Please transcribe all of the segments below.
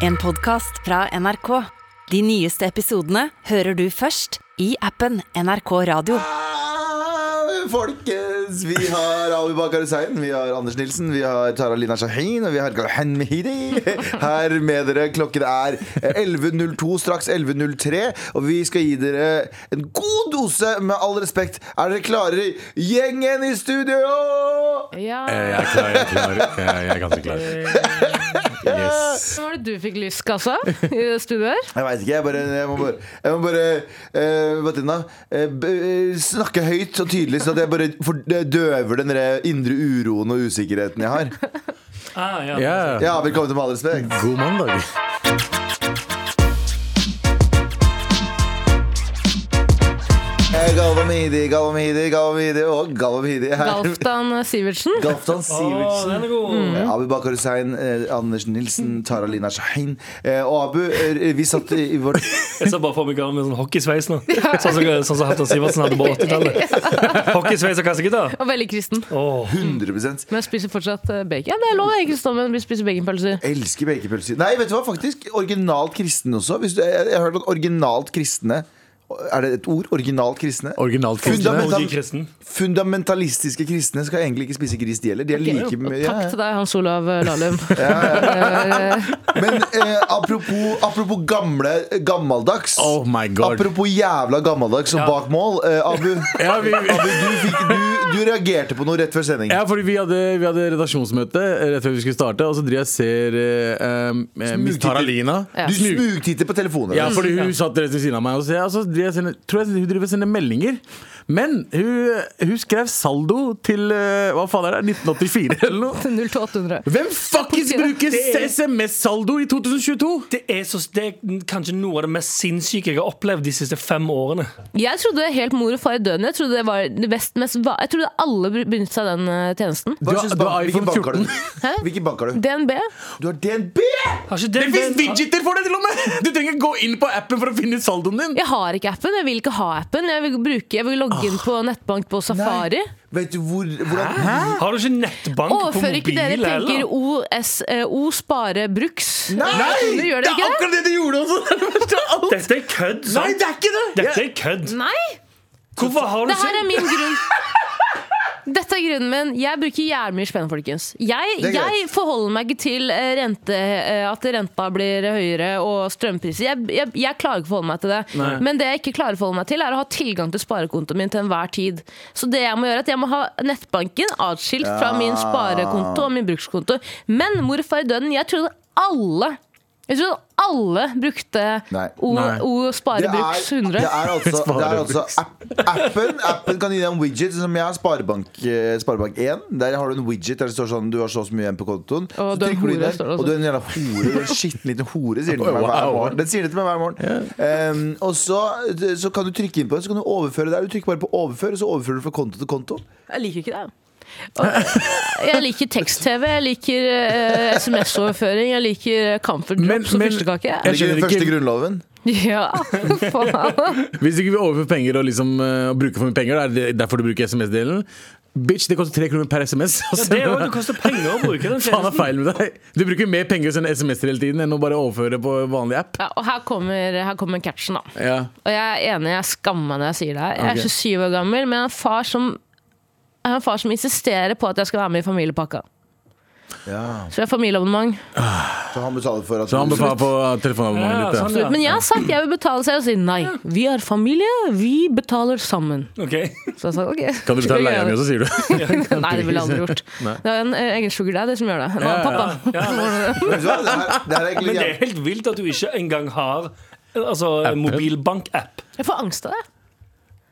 En podcast fra NRK. De nyeste episodene hører du først i appen NRK Radio. Ah, Folkens, vi har Ali Bakar Hussein, vi har Anders Nilsen, vi har Tara Lina Shahin og vi har Galhan Mehidi her med dere. Klokken er 11.02, straks 11.03, og vi skal gi dere en god dose med all respekt. Er dere klare, gjengen i studio? Ja, Jeg er klar, jeg er klar. Jeg jeg er ganske klar. Yes. Hva var det du fikk lyst, altså? I studioet her? Jeg veit ikke. Jeg, bare, jeg må bare, jeg må bare eh, Martina, eh, b eh, snakke høyt og tydelig, så at jeg bare for, døver den der indre uroen og usikkerheten jeg har. Ah, Ja. Ja, Velkommen til Med all respekt. God mandag. Eh, Galvamidi, Galvamidi, Galvamidi og Galvamidi her. Galftan Sivertsen. Galftan Å, Sivertsen. den er Mm. god. Eh, Abu Bakar Hussein, eh, Anders Nilsen, Tara Lina Shahin. Eh, og Abu, eh, vi satt i vårt Jeg ser bare for meg Garan med sånn hockeysveis nå. Sånn som, sånn som Halvdan Sivertsen hadde på 80-tallet. Hockeysveis og kassegitar. Og veldig kristen. Åh, 100 Men jeg spiser fortsatt eh, bacon. Ja, det er lov, jeg er kristen, men vi spiser baconpølser. Elsker bakerpølser. Nei, vet du hva, faktisk originalt kristen også. Hvis du, jeg, jeg har hørt at originalt kristne Er det et ord? Originalt kristne? Originalt kristne. Fundament- OG kristen. Fundamentalistiske kristne skal egentlig ikke spise gris, de heller. De er like mye ja, Takk ja. til deg, Hans Olav eh, Lahlum. Men eh, apropos, apropos gamle, gammeldags. Oh my god. Apropos jævla gammeldags og bak mål. Eh, Abu, Ja, vi, Abu du, fikk, du, du reagerte på noe rett før sending. ja, fordi vi hadde, vi hadde redaksjonsmøte rett før vi skulle starte, og så driver jeg og ser eh, eh, Miss Smugtitter. Tara Lina. Ja. Du Smug- smugtitter på telefonen. Ja, fordi hun satt rett ved siden av meg. Og så jeg, altså, jeg sender, tror jeg hun driver og sender meldinger. Men hun, hun skrev saldo til eh, hva faen er det, 1984 eller noe. 0 til 800. Hvem fuckings bruker Det er- SMS-saldo i 2022? Det er, så, det er kanskje noe av det mest sinnssyke jeg har opplevd de siste fem årene. Jeg trodde helt mor og far i døden. Jeg trodde, det var det best, mest, va- jeg trodde alle benyttet seg av den eh, tjenesten. Hva Du har- slags du har bank- hvilken iPhone bank har du? 14. Hæ? Hvilken bank har du? DNB. Du har DNB! Har Det ikke den- fins den- widgeter for det, til og med! Du trenger ikke gå inn på appen for å finne ut saldoen din. Jeg har ikke appen. Jeg vil ikke ha appen. Jeg vil, bruke, jeg vil logge inn på nettbank på Safari. Vet du hvor, hvordan Har du ikke nettbank på Overfører ikke mobil? dere penger eller? OSO eh, spare bruks? Nei! Du gjør det Det er ikke? akkurat det du gjorde også! Det er det verste av alt. Dette er kødd, Nei, sant? det er ikke det! Dette Jeg- er kødd. Nei! Hvorfor har du Det her ikke er min grunn. Dette er grunnen min. Jeg bruker jævlig mye spenn, folkens. Jeg, Det er greit. jeg forholder meg ikke til eh, rente, eh, at renta blir høyere og strømpriser. Jeg, jeg, jeg klarer ikke å forholde meg til det. Men det jeg ikke klarer å forholde meg til, er å ha tilgang til sparekontoen min til enhver tid. Så det jeg må gjøre, er at jeg må ha nettbanken atskilt fra min sparekonto og min brukskonto. Men mor og far i døden, jeg trodde alle jeg trodde alle brukte Nei. O, Nei. o Det er, sparebruks 100. det er altså, det er altså Sparebruks. app, appen, appen kan gi deg en widget som jeg har Sparebank, eh, Sparebank 1. Der har du en widget der det står sånn du har så og så mye igjen på kontoen. Og Så du er en trykker inn hore, der, står det også. og du er en jævla hore. Du er en skitten liten hore, sier den til meg hver Wow. morgen. Den sier det til meg hver morgen. Em, og så, så kan du trykke inn på det, så kan du overføre der. Du trykker bare på overfør, og så overfører du fra konto til konto. Jeg liker ikke det. Og jeg liker tekst-TV, jeg liker eh, SMS-overføring, jeg liker eh, Comfort Men- Drops og men- fyrstekake. Jeg Er det ikke skjønner den første ikke- grunnloven? Ja, faen. Hvis ikke vi overfører penger og liksom eh, bruker for mye penger, da er det derfor du bruker SMS-delen. Bitch, det koster tre kroner per SMS. ja, Det er jo- det koster penger å bruke den Altså, Faen er tjenesten. feil med deg? Du bruker mer penger å sende SMS-er hele tiden enn å bare overføre på vanlig app. Ja, og her kommer, her kommer catchen, da. Ja. Og jeg er enig, jeg skammer meg når jeg sier det her. Jeg Ok. er 27 år gammel, men jeg har en far som jeg har en far som insisterer på at jeg skal være med i familiepakka. Ja. Så jeg har familieabonnement. Så han betaler for at Så han befaler på eh, telefonabonnementet Ja, ditt. sånn, Ja. ja. Men jeg har sagt jeg vil betale, så jeg sier nei. Vi er familie, vi betaler sammen. Ok. Så jeg sa ok. Kan du betale leia mi også, sier du? Nei, det ville jeg aldri gjort. Det er en eh, egen sugar daddy som gjør det. Nå, Ja, ja. pappa. Vet du hva? Det her- det her er egentlig Men det er jævlig- helt vilt at du ikke engang har altså, mobilbank-app. Jeg får angst av det.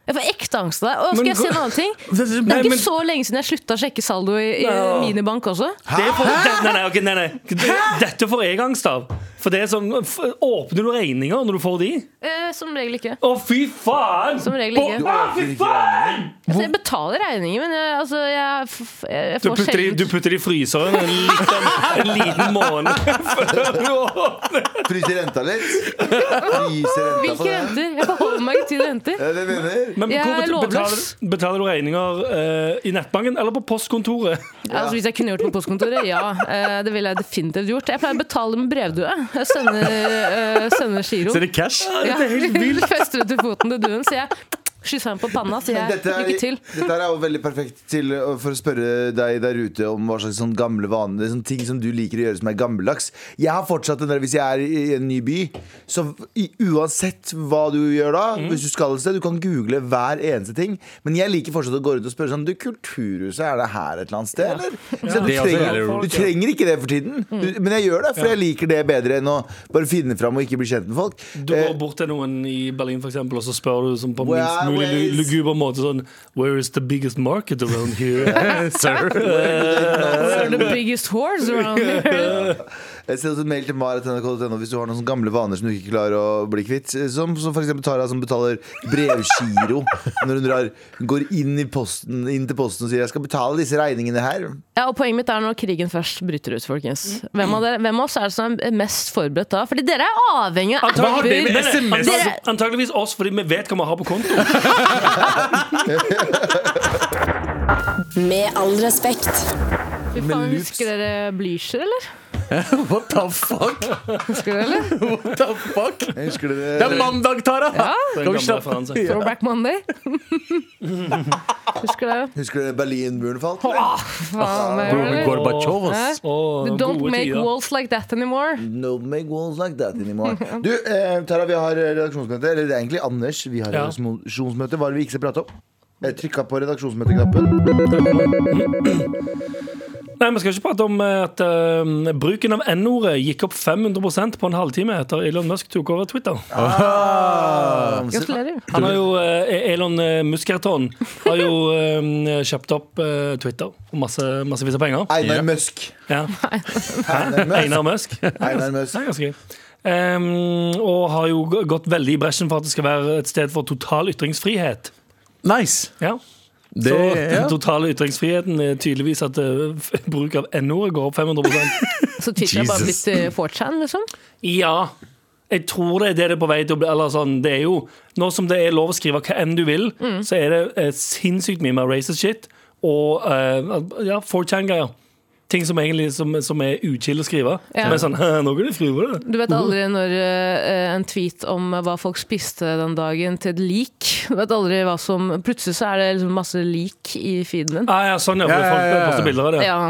Jeg får ekte angst av det. Og skal Men jeg si hva- en annen ting? Det er Det er ikke men- så lenge siden jeg slutta å sjekke saldo i, i Ja. minibank også. Det er for, det, nei, nei, ok, nei, nei. Det- Dette får jeg angst av. For det er sånn f- Åpner du regninger når du får de? Eh, som regel ikke. Å, fy faen! Som regel ikke. Å, fy faen! Altså, jeg betaler regninger, men jeg, altså, jeg, f- jeg Du får putter, i, sjelden du putter i fryseren en liten, en liten måned før du åpner. Fryser renta litt. Fryser renta på Hvilke det. renter? Jeg forholder meg ikke til renter. Ja, Eh, det mener. Men Jeg hvor er bet- betaler, lovløs. betaler du regninger eh, i nettbanken eller på postkontoret? Altså, hvis jeg kunne gjort det på postkontoret, ja. Eh, det ville jeg definitivt gjort. Jeg pleier å betale med brevdue. Jeg sender, eh, sender giro. Så er det cash? Ja. Det er helt vilt. Fester det til foten til duen, sier jeg. Kysser ham på panna, sier jeg. Dette er, Lykke til. dette er jo veldig perfekt til, uh, for å spørre deg der ute om hva slags sånn gamle vaner sånn ting som du liker å gjøre som er gammeldags. Jeg har fortsatt den der hvis jeg er i i en ny by, så i, uansett hva du gjør da, hvis du skal et sted, du kan google hver eneste ting. Men jeg liker fortsatt å gå rundt og spørre sånn Du, Kulturhuset, er det her et eller annet sted, eller? Så du, Det er også trenger, veldig rolig. du trenger ikke det for tiden, du, men jeg gjør det, for jeg liker det bedre enn å bare finne fram og ikke bli kjent med folk. Du Eh, går bort til noen i Berlin for eksempel, og så spør du sånn på Where minst mulig lu- is- luguber måte sånn Where is the biggest market around here? Sir. Where are the biggest whores around here? Send oss en mail til maratnrk.no hvis du har noen sånne gamle vaner som du ikke klarer å bli kvitt. Som, som f.eks. Tara som betaler brevgiro når hun drar, går inn, i posten, inn til posten og sier 'jeg skal betale disse regningene her'. Ja, og Poenget mitt er når krigen først bryter ut, folkens. Hvem av, dere, hvem av oss er det som er mest forberedt da? Fordi dere er avhengig av Antagelig- har det med Nei, apper. nei, SMS? antagelig- Antageligvis oss, fordi vi vet hva vi har på konto. Med all respekt. Fy faen, Husker dere Blücher, eller? What the fuck? Husker dere, eller? What the fuck? Jeg husker det, Det er mandag, Tara! Det er Kan en vi gammel slappe referanse. Throwback Monday. Husker dere? Husker dere Berlinmuren falt? eller? Ah! Altså, Faen, det, av? eller? Gorbatsjov, Hæ? ass. Og Don't gode make tider. walls like that anymore. No make walls like that anymore. Du, eh, Tara, vi har redaksjonsmøte. Eller det er egentlig Anders. Vi har Ja. redaksjonsmøte. Hva er det vi ikke skal prate om? Jeg trykka på redaksjonsmøteknappen. Nei, Vi skal ikke prate om eh, at eh, bruken av N-ordet gikk opp 500 på en halvtime etter Elon Musk tok over Twitter. Ah. Ah. Altså, Gratulerer. Han har jo, eh, Elon eh, Muskerton har jo eh, kjøpt opp eh, Twitter for masse, massevis av penger. Einar Musk. Ja. Einar Musk. Einar Einar Musk. Det Musk. er ganske gøy. Ehm, og har jo g- gått veldig i bresjen for at det skal være et sted for total ytringsfrihet. Nice. Ja. Det, Så ja. den totale ytringsfriheten er tydeligvis at eh, f- bruk av N-ordet går opp 500 Så Twitter er bare Jesus. blitt eh, 4chan, liksom? Ja. Jeg tror det er det det er på vei til å bli. Eller sånn, det er jo, nå som det er lov å skrive hva enn du vil, så er det eh, sinnssykt mye mer racist shit og eh, ja, 4chan-greier. Ting som egentlig som, som er uchill å skrive. Ja. Som er sånn Nå kan du skrive det. Du vet aldri når eh, en tweet om hva folk spiste den dagen, til et lik. Du vet aldri hva som Plutselig så er det liksom masse lik i feeden din. Ah, ja, sånn, ja. For Ja, ja, ja, ja. folk poster bilder av det. Ja.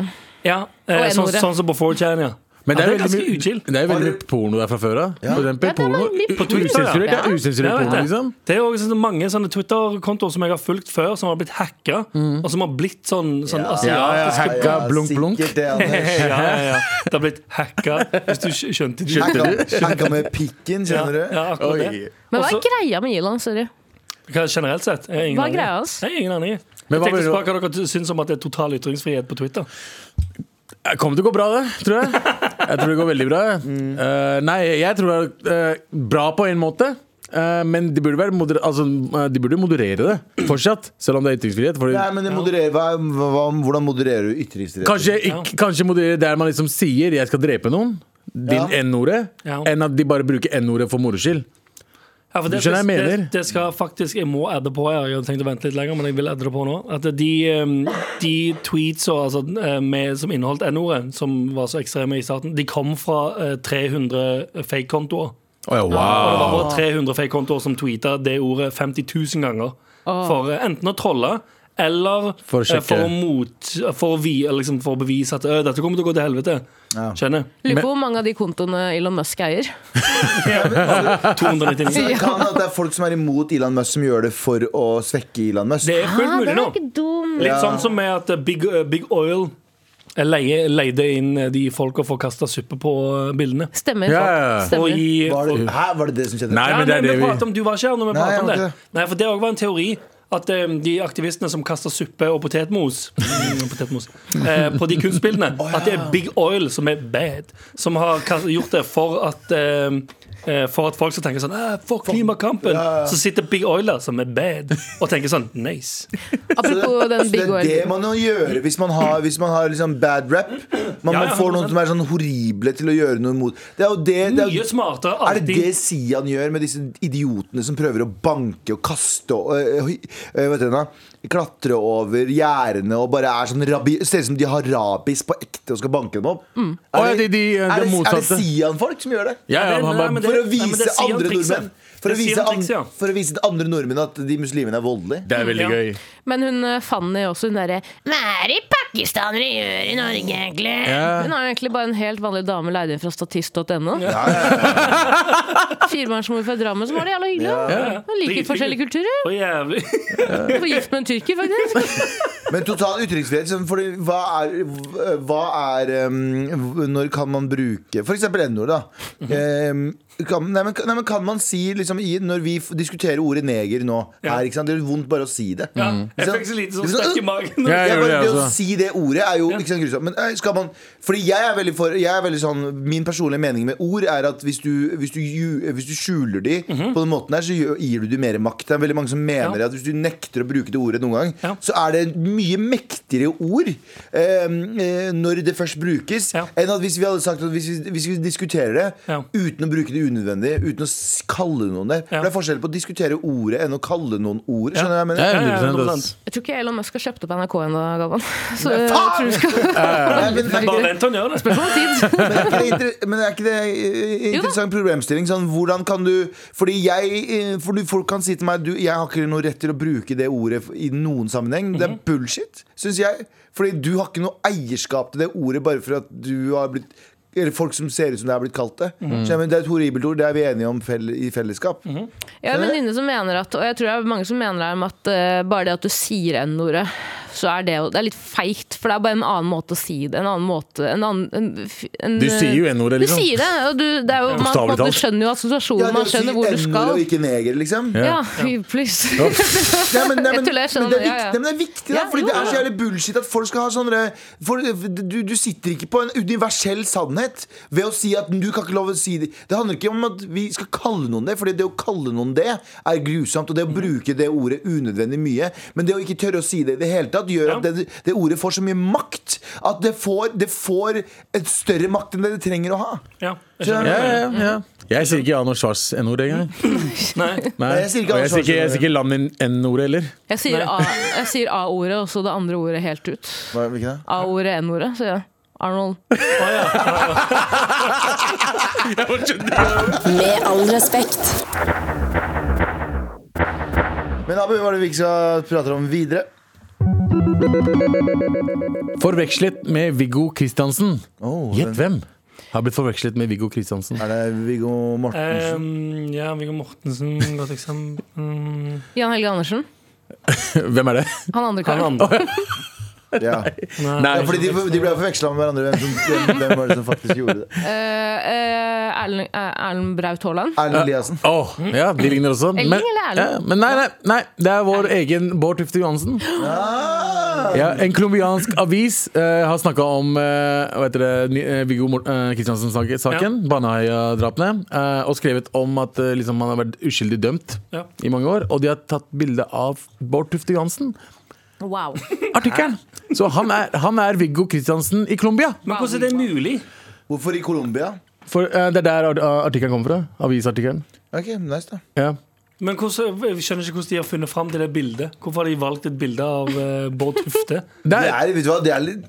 Ja, eh, Og sånn, N-ordet. sånn som på 4chan, ja. Men det Ja, er, det er veldig ganske mye- uchill. Det er jo veldig mye porno der fra før av. For eksempel Ja, det er porno. veldig u- på Twitter, Usensurert, ja. ja. Usensurert Ja, vet porno, det. liksom. Det er jo også sånn mange sånne Twitter-kontoer som jeg har fulgt før, som har blitt hacka. Og som har blitt sånn, sånn Ja, ja, asiatiske hacka, blunk, blunk. Sikkert det, Anders. ja, ja, ja. Det har blitt hacka, hvis du skj- skjønte det. Hacka, hacka med pikken, Ja, kjenner du? ja, akkurat det. Oi. Men hva Også- er greia med Elon? Sorry. Hva er generelt sett? Jeg har ingen Hva er aning. greia altså? hans? Jeg har ingen aning. Men hva Jeg tenkte vil på du- hva dere syns om at det er total ytringsfrihet på Twitter. Det kommer til å gå bra, det, tror jeg. Jeg tror det går veldig bra. jeg. Eh, nei, jeg tror det er eh, bra på en måte. eh, men de burde, være moder altså, eh, de burde moderere det fortsatt, selv om det er ytringsfrihet. Fordi Nei, men det modererer, hva, hva, hvordan modererer du ytringsfrihet? kanskje, ikk- kanskje moderere der man liksom sier 'jeg skal drepe noen', din Ja. N-ordet, Ja. enn at de bare bruker N-ordet for moro skyld. Ja, for Du det, skjønner hva jeg det- mener? Det, det skal faktisk, Jeg må adde på her. Jeg hadde tenkt å vente litt lenger, men jeg vil adde det på nå. At de, ehm, de tweets og, altså, eh, med, som inneholdt N-ordet, som var så ekstreme i starten, de kom fra eh, 300 fake-kontoer. Å ja, Og det var wow. bare 300 fake-kontoer som tweeta det ordet 50 000 ganger. For eh, enten å trolle eller For å eh, for, sjekke. å mot, for, å vi, eller liksom for å bevise at «Ø, dette kommer til å gå til helvete. Skjønner? Lurer på hvor mange av de kontoene Elon Musk eier. 299. Altså, Det kan at det er folk som er imot Elon Musk, som gjør det for å svekke Elon Musk. Det er fullt Ah, mulig nå. dum. Litt sånn som med at eh, Big, eh, Big Oil leie, leide inn eh, de folka for å kaste suppe på eh, bildene. Stemmer. Ja, ja, ja. Og Stemmer. gi Var, det, hæ, var det det som skjedde? Nei, ja, men det er nei, det vi vi prater om, Du var ikke her når vi Nei, pratet jeg om var det. ikke det. Nei, for Det òg var en teori. At eh, de aktivistene som kaster suppe og potetmos, mm, potetmos eh, på de kunstbildene At det er Big Oil som er bad, som har kas- gjort det for at eh, eh, For at folk skal tenke sånn «Ah, Fuck klimakampen! Så sitter Big Oil der, som er bad, og tenker sånn Nice. Apropos den Så det Big er det Oil. man må gjøre hvis man har, hvis man har liksom bad rap. Man Ja, må ja, få noen som er sånn horrible til å gjøre noe imot. Det er jo det, det er, Mye jo- smartere. er det alltid. det Sian gjør med disse idiotene som prøver å banke og kaste og øh, eh, vet du, hva, klatre over gjerdene og bare er sånn rabi, Ser ut som de har rabis på ekte og skal banke dem opp. Mm. Å, ja, de- de- det er det, er det motsatte. Sian-folk som gjør det? Ja, ja, Nei, han bare- nei, men For å det- nei, men vise det er Sian andre trikset. nordmenn for å Det er vise, Sian an, trikset, ja. for å vise til andre nordmenn at de muslimene er voldelige. Det er veldig Ja. gøy. Men hun eh, Fanny også, hun derre Hva er det pakistanere gjør i Norge, egentlig? Ja. Hun er jo egentlig bare en helt vanlig dame leid inn fra statist.no. Firebarnsmor fra Drammen som var det jævla hyggelig. da. Hun liker Drithyggelig. forskjellige kulturer. Å, jævlig. Hun var gift med en tyrker, faktisk. Men total uttrykksfrihet sånn, fordi hva er, hva er um, Når kan man bruke For eksempel N-ord da Mhm. um, kan, nei, men, nei, men kan man si liksom, i, Når vi f- diskuterer ordet neger nå Ja. her, ikke sant? Det er vondt bare å si det Ja, jeg fikk så lite sånn Liksom, stakk i magen. Ja, Jeg jeg gjør bare, det, det å altså. si det ordet er jo ikke sånn grusomt. Men eh, skal man Fordi jeg er veldig for jeg er veldig sånn, Min personlige mening med ord er at hvis du, hvis du, ju- hvis du skjuler de på den måten her, så gjør- gir du de mer makt. Det er veldig mange som mener Mhm. Ja. at hvis du nekter å bruke det ordet noen gang, Ja. så er det mye mektigere ord eh, eh, når det først brukes, Ja. enn at hvis vi hadde sagt at hvis vi, hvis vi diskuterer det Ja. uten å bruke det unødvendig, uten å s- kalle noen det. Ja. For det er forskjell på å diskutere ordet enn å kalle noen ord. Ja. Skjønner du hva jeg Det mener? er Ja, ja, 100 ass. 100%. Jeg tror ikke Elon Musk har kjøpt opp NRK ennå, Galvan. Så Nei, jeg faen! tror du skal Nei, men- Bare vent til han gjør det. spørsmål om tid. Men er ikke det inter- Men er ikke det eh, interessant problemstilling? Sånn, hvordan kan du Fordi jeg eh, fordi Folk kan si til meg du, Jeg har ikke noe rett til å bruke det ordet i noen sammenheng. Det er Mhm. bullshit, syns jeg. Fordi du har ikke noe eierskap til det ordet bare for at du har blitt eller folk som ser ut som det er blitt kalt det. Mhm. Så jeg mener, det er et horribelt ord. Det er vi enige om fell, i fellesskap. Jeg har en venninne som mener at, og jeg tror det er mange som mener det om at eh, bare det at du sier N-ordet, så er det jo Det er litt feigt, for det er bare en annen måte å si det. En annen måte en annen, en, en, Du sier jo N-ordet, Du liksom. sier det, og du, det er jo, man, på en Bokstavelig måte talt. skjønner jo assosiasjonen, det å man skjønner hvor du N-ord skal. og ikke neger, liksom. Ja, please. Nei, men, nei, Jeg men, tuller, jeg skjønner men det er det, ja, viktig, ja. nei, men det er viktig da, Ja, fordi jo, det er ja. så jævlig bullshit at folk skal ha sånne for, du, du sitter ikke på en universell sannhet ved å si at du kan ikke lov å si det. Det handler ikke om at vi skal kalle noen det, Fordi det å kalle noen det er grusomt, og det å bruke det ordet unødvendig mye. Men det å ikke tørre å si det i det hele tatt, gjør at det, det ordet får så mye makt at det får, det får et større makt enn det det trenger å ha. Ja, jeg Så- skjønner. Ja, ja, ja. Jeg sier ikke Arnold Schwarz N-ord engang. Nei. Nei. Nei, jeg sier ikke Arnold Og jeg sier ikke, jeg Schwarzenegger. sier ikke Lamin N-ordet heller. Jeg sier A- jeg sier A-ordet, og så det andre ordet helt ut. Hva, hvilken da? A-ordet, N-ordet, sier jeg. Arnold. Med all respekt. Men Abu, hva er det vi ikke skal prate om videre? Forvekslet med Viggo Kristiansen. Oh, Gjett hvem? Har blitt forvekslet med Viggo Kristiansen. Er det Viggo Mortensen? Ehm, ja, Viggo Mortensen, godt eksempel. Mm, Jan Helge Andersen. Hvem er det? Han andre han karen. andre. Ja. Nei, Ja, fordi de, de ble forveksla med hverandre. Hvem, som, hvem, hvem var det som faktisk gjorde det? Eh, eh, Erlend eh, Erlend Braut Haaland. Erlend Eliassen. Åh, ja, de ligner også. Elling Men, eller Erling? ja, men nei, nei, nei, det er vår egen Bård Tufte Johansen. Ah! Ja, en colombiansk avis eh, har snakka om eh, hva heter det, ny- eh, Viggo Mor- eh, Kristiansen-saken, Baneheia-drapene, eh, og skrevet om at eh, liksom, han har vært uskyldig dømt Ja. i mange år. Og de har tatt bilde av Bård Tufte Johansen. Wow. Artikkelen! Så han er, han er Viggo Kristiansen i Colombia. Men hvordan er det mulig? Hvorfor i Colombia? For eh, det er der art- artikkelen kommer fra. Avisartikkelen. Ok, nice da Ja. Men hvordan, jeg skjønner ikke hvordan de har funnet fram til det bildet. Hvorfor har de valgt et bilde av eh, Bård Tufte? Det det er, er, vet du hva, det er litt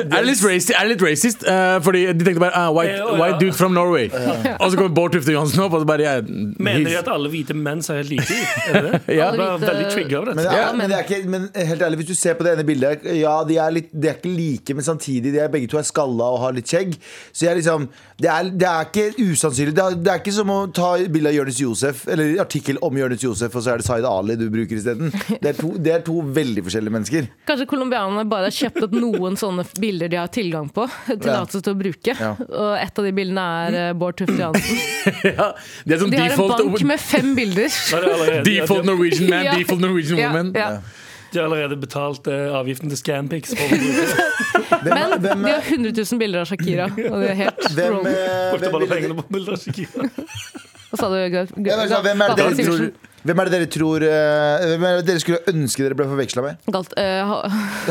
er det litt racist, er det litt racist eh, fordi de tenkte bare ah, white, Eh, å, ja. white dude from Norway. Og så kommer Bård Tufte Johansen opp, og så bare jeg, Mener de at alle hvite menn ser helt like ut? Er det det? Ja. Jeg ble veldig trigga av men, dette. det er, Ja, men, det er ikke, men helt ærlig, hvis du ser på det ene bildet Ja, de er, litt, de er ikke like, men samtidig de er begge to er skalla og har litt skjegg. Så jeg liksom, det, er, det er ikke usannsynlig. Det er, det er ikke som å ta bilde av Jonis Josef, eller artikkel om Jonis Josef, og så er det Zaid Ali du bruker isteden. Det, er to- det er to veldig forskjellige mennesker. Kanskje colombianerne bare har kjøpt opp noen sånne bilder de har tilgang på. Tillatelse til å bruke. Ja. Og et av de bildene er eh, Bård Tufte Johansen. ja, Det er som De har en default, bank med fem bilder. Nei, de har allerede- de har- default Norwegian man, Ja. default Norwegian Ja, woman. ja. De har allerede betalt eh, avgiften til Scanpics. for å bruke det. Men Hvem, hvem, de har 100 000 bilder av Shakira. Og det er helt hvem, wrong. eh, Brukte hvem bare ville- pengene på bilder, sikkert. Hva sa du, Gav? Ja, men så, hvem, er det Galvan dere tror, Sivertsen. hvem er det dere tror eh, Hvem er det dere skulle ønske dere ble forveksla med? Galt, eh, ha-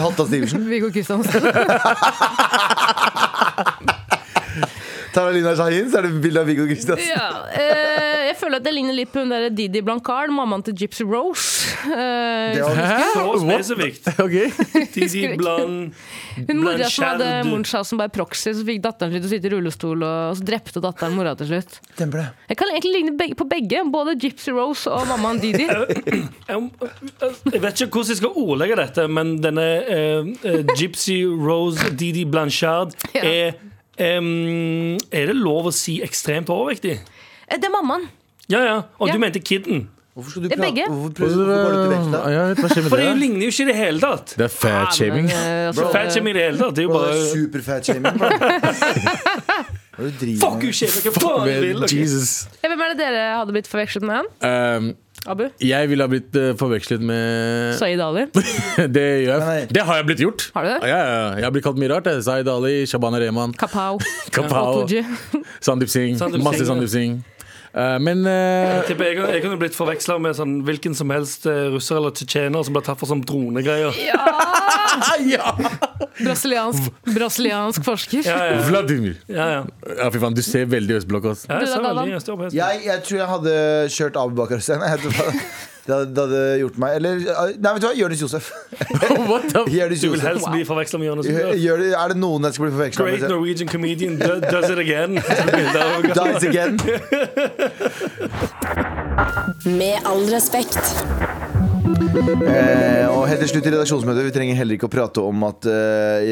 Halvdan Stivelsen? Viggo Kristiansen. Taralina Shahin, så er det bilde av Viggo Kristiansen. Ja, eh, jeg føler at det ligner litt på hun der Didi Blancard, mammaen til Gypsy Rose. Eh, Det var- Hæ? Så What? spesifikt. Ok. Dizzy Blan hun mora som Blanchard. hadde Munchausen som bare proxy, så fikk datteren sin til å sitte i rullestol, og så drepte datteren mora til slutt. Jeg kan egentlig ligne begge, på begge, både Gypsy Rose og mammaen Didi. Eh, Jeg jeg vet ikke hvordan jeg skal ordlegge dette, men denne eh, eh, Gypsy Rose Didi Blanchard Ja. er em, Er det lov å si ekstremt overvektig? Eh, Det er mammaen. Ja, ja. Og Ja. du mente kidden. Hvorfor skal du Det er prate- begge. Hvorfor Ja, prøver du hvorfor går du til vekta? jeg vet, Hva skjer med For de det? da? ligner jo ikke i det hele tatt. Det er fat shaming. Eh, altså, Fat shaming i det hele tatt. Det er jo Bro, det bare er superfat shaming. bro. Hva er det du driver Fuck med? you, shit! Hva faen du vil? Men ok? Jesus. eh, Hvem er det dere hadde blitt forvekslet med? han? Um, Abu? jeg ville ha blitt eh, forvekslet med Saeed Ali? Det gjør Nei. jeg. Det har jeg blitt gjort. Har du det? Ja, ja, ja. Jeg har blitt kalt mye rart. jeg. Zaid Ali, Shabana Rehman, Kapow? Kapow, Otoji? Sandeep Singh. Sandeep Masse Singh, ja. Sandeep Singh. Eh, men eh, Jeg tipper Jeg, jeg kunne blitt forveksla med sånn, hvilken som helst eh, russer eller tsjetsjener som blir tatt for sånn dronegreier. ah, ja. Brasiliansk, brasiliansk forsker? Ja, ja, Vladimir. ja, ja. Ja, fy faen, du ser veldig østblokk ut. Ja, jeg Du da, ser Galvan? veldig østeuropeisk ut. Jeg, jeg tror jeg hadde kjørt Abu Bakar Hussein. jeg vet hva. Det hadde, det hadde gjort meg Eller eh, Nei, vet du hva? Jonis Josef. What the f... Jonis Du vil Josef. helst bli forveksla med Jonas Gahr. Gjør det, er det noen jeg skal bli Great forveksla med? Norwegian comedian do- does it again. Dies again. Med all respekt. Eh, og helt til slutt i redaksjonsmøtet, vi trenger heller ikke å prate om at eh,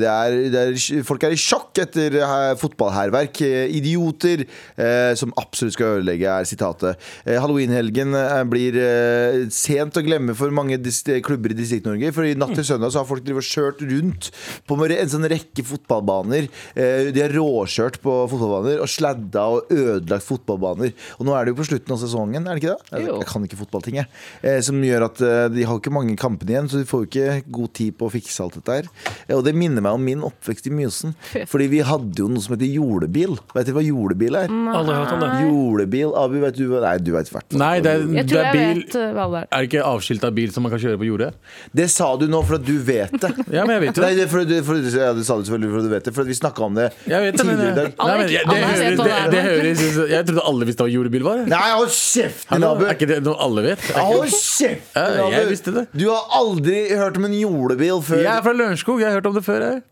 det er, det er, folk er i sjokk etter eh, fotballhærverk. Eh, Idioter eh, som absolutt skal ødelegge, er sitatet. Eh, Halloweenhelgen eh, blir eh, sent å glemme for mange dis klubber i Distrikt-Norge. For i natt til søndag så har folk drevet og kjørt rundt på en sånn rekke fotballbaner. Eh, de har råkjørt på fotballbaner og sladda og ødelagt fotballbaner. Og nå er det jo på slutten av sesongen, er det ikke det? Jeg- Jo. Jeg kan ikke fotballting, jeg. Eh, som gjør at eh, de har ikke mange kampene igjen, så de får jo ikke god tid på å fikse alt dette her. Eh, og det minner meg om min oppvekst i Mjøsen. Fordi vi hadde jo noe som heter jordebil. Vet du hva jordebil er? Aldri hørt om det. Jordebil, Abu, vet du hva Nei, du vet hvert fall. Nei, det er, Jeg det tror er jeg bil vet eh, hva det er. Er det ikke avskilta bil som man kan kjøre på jordet? Det sa du nå for at du vet det. Ja, men jeg vet jo Nei, det. det, er for, det, for, ja, det sa du selvfølgelig for at du vet det, for at vi snakka om det Jeg vet det, men, tidligere i dag. Nei, men jeg, det, Alle vet høres, hva det, det er, det høres Jeg trodde alle visste hva jordebil var. jeg. Nei, hold kjeften din, Hallo, Abu! Er ikke det noe alle vet? Er ikke- Hold kjeften Ja, din, Abu! jeg visste det. Du har aldri hørt om en jordebil før. Jeg er fra Lørenskog, jeg har hørt om det før. Jeg. Hva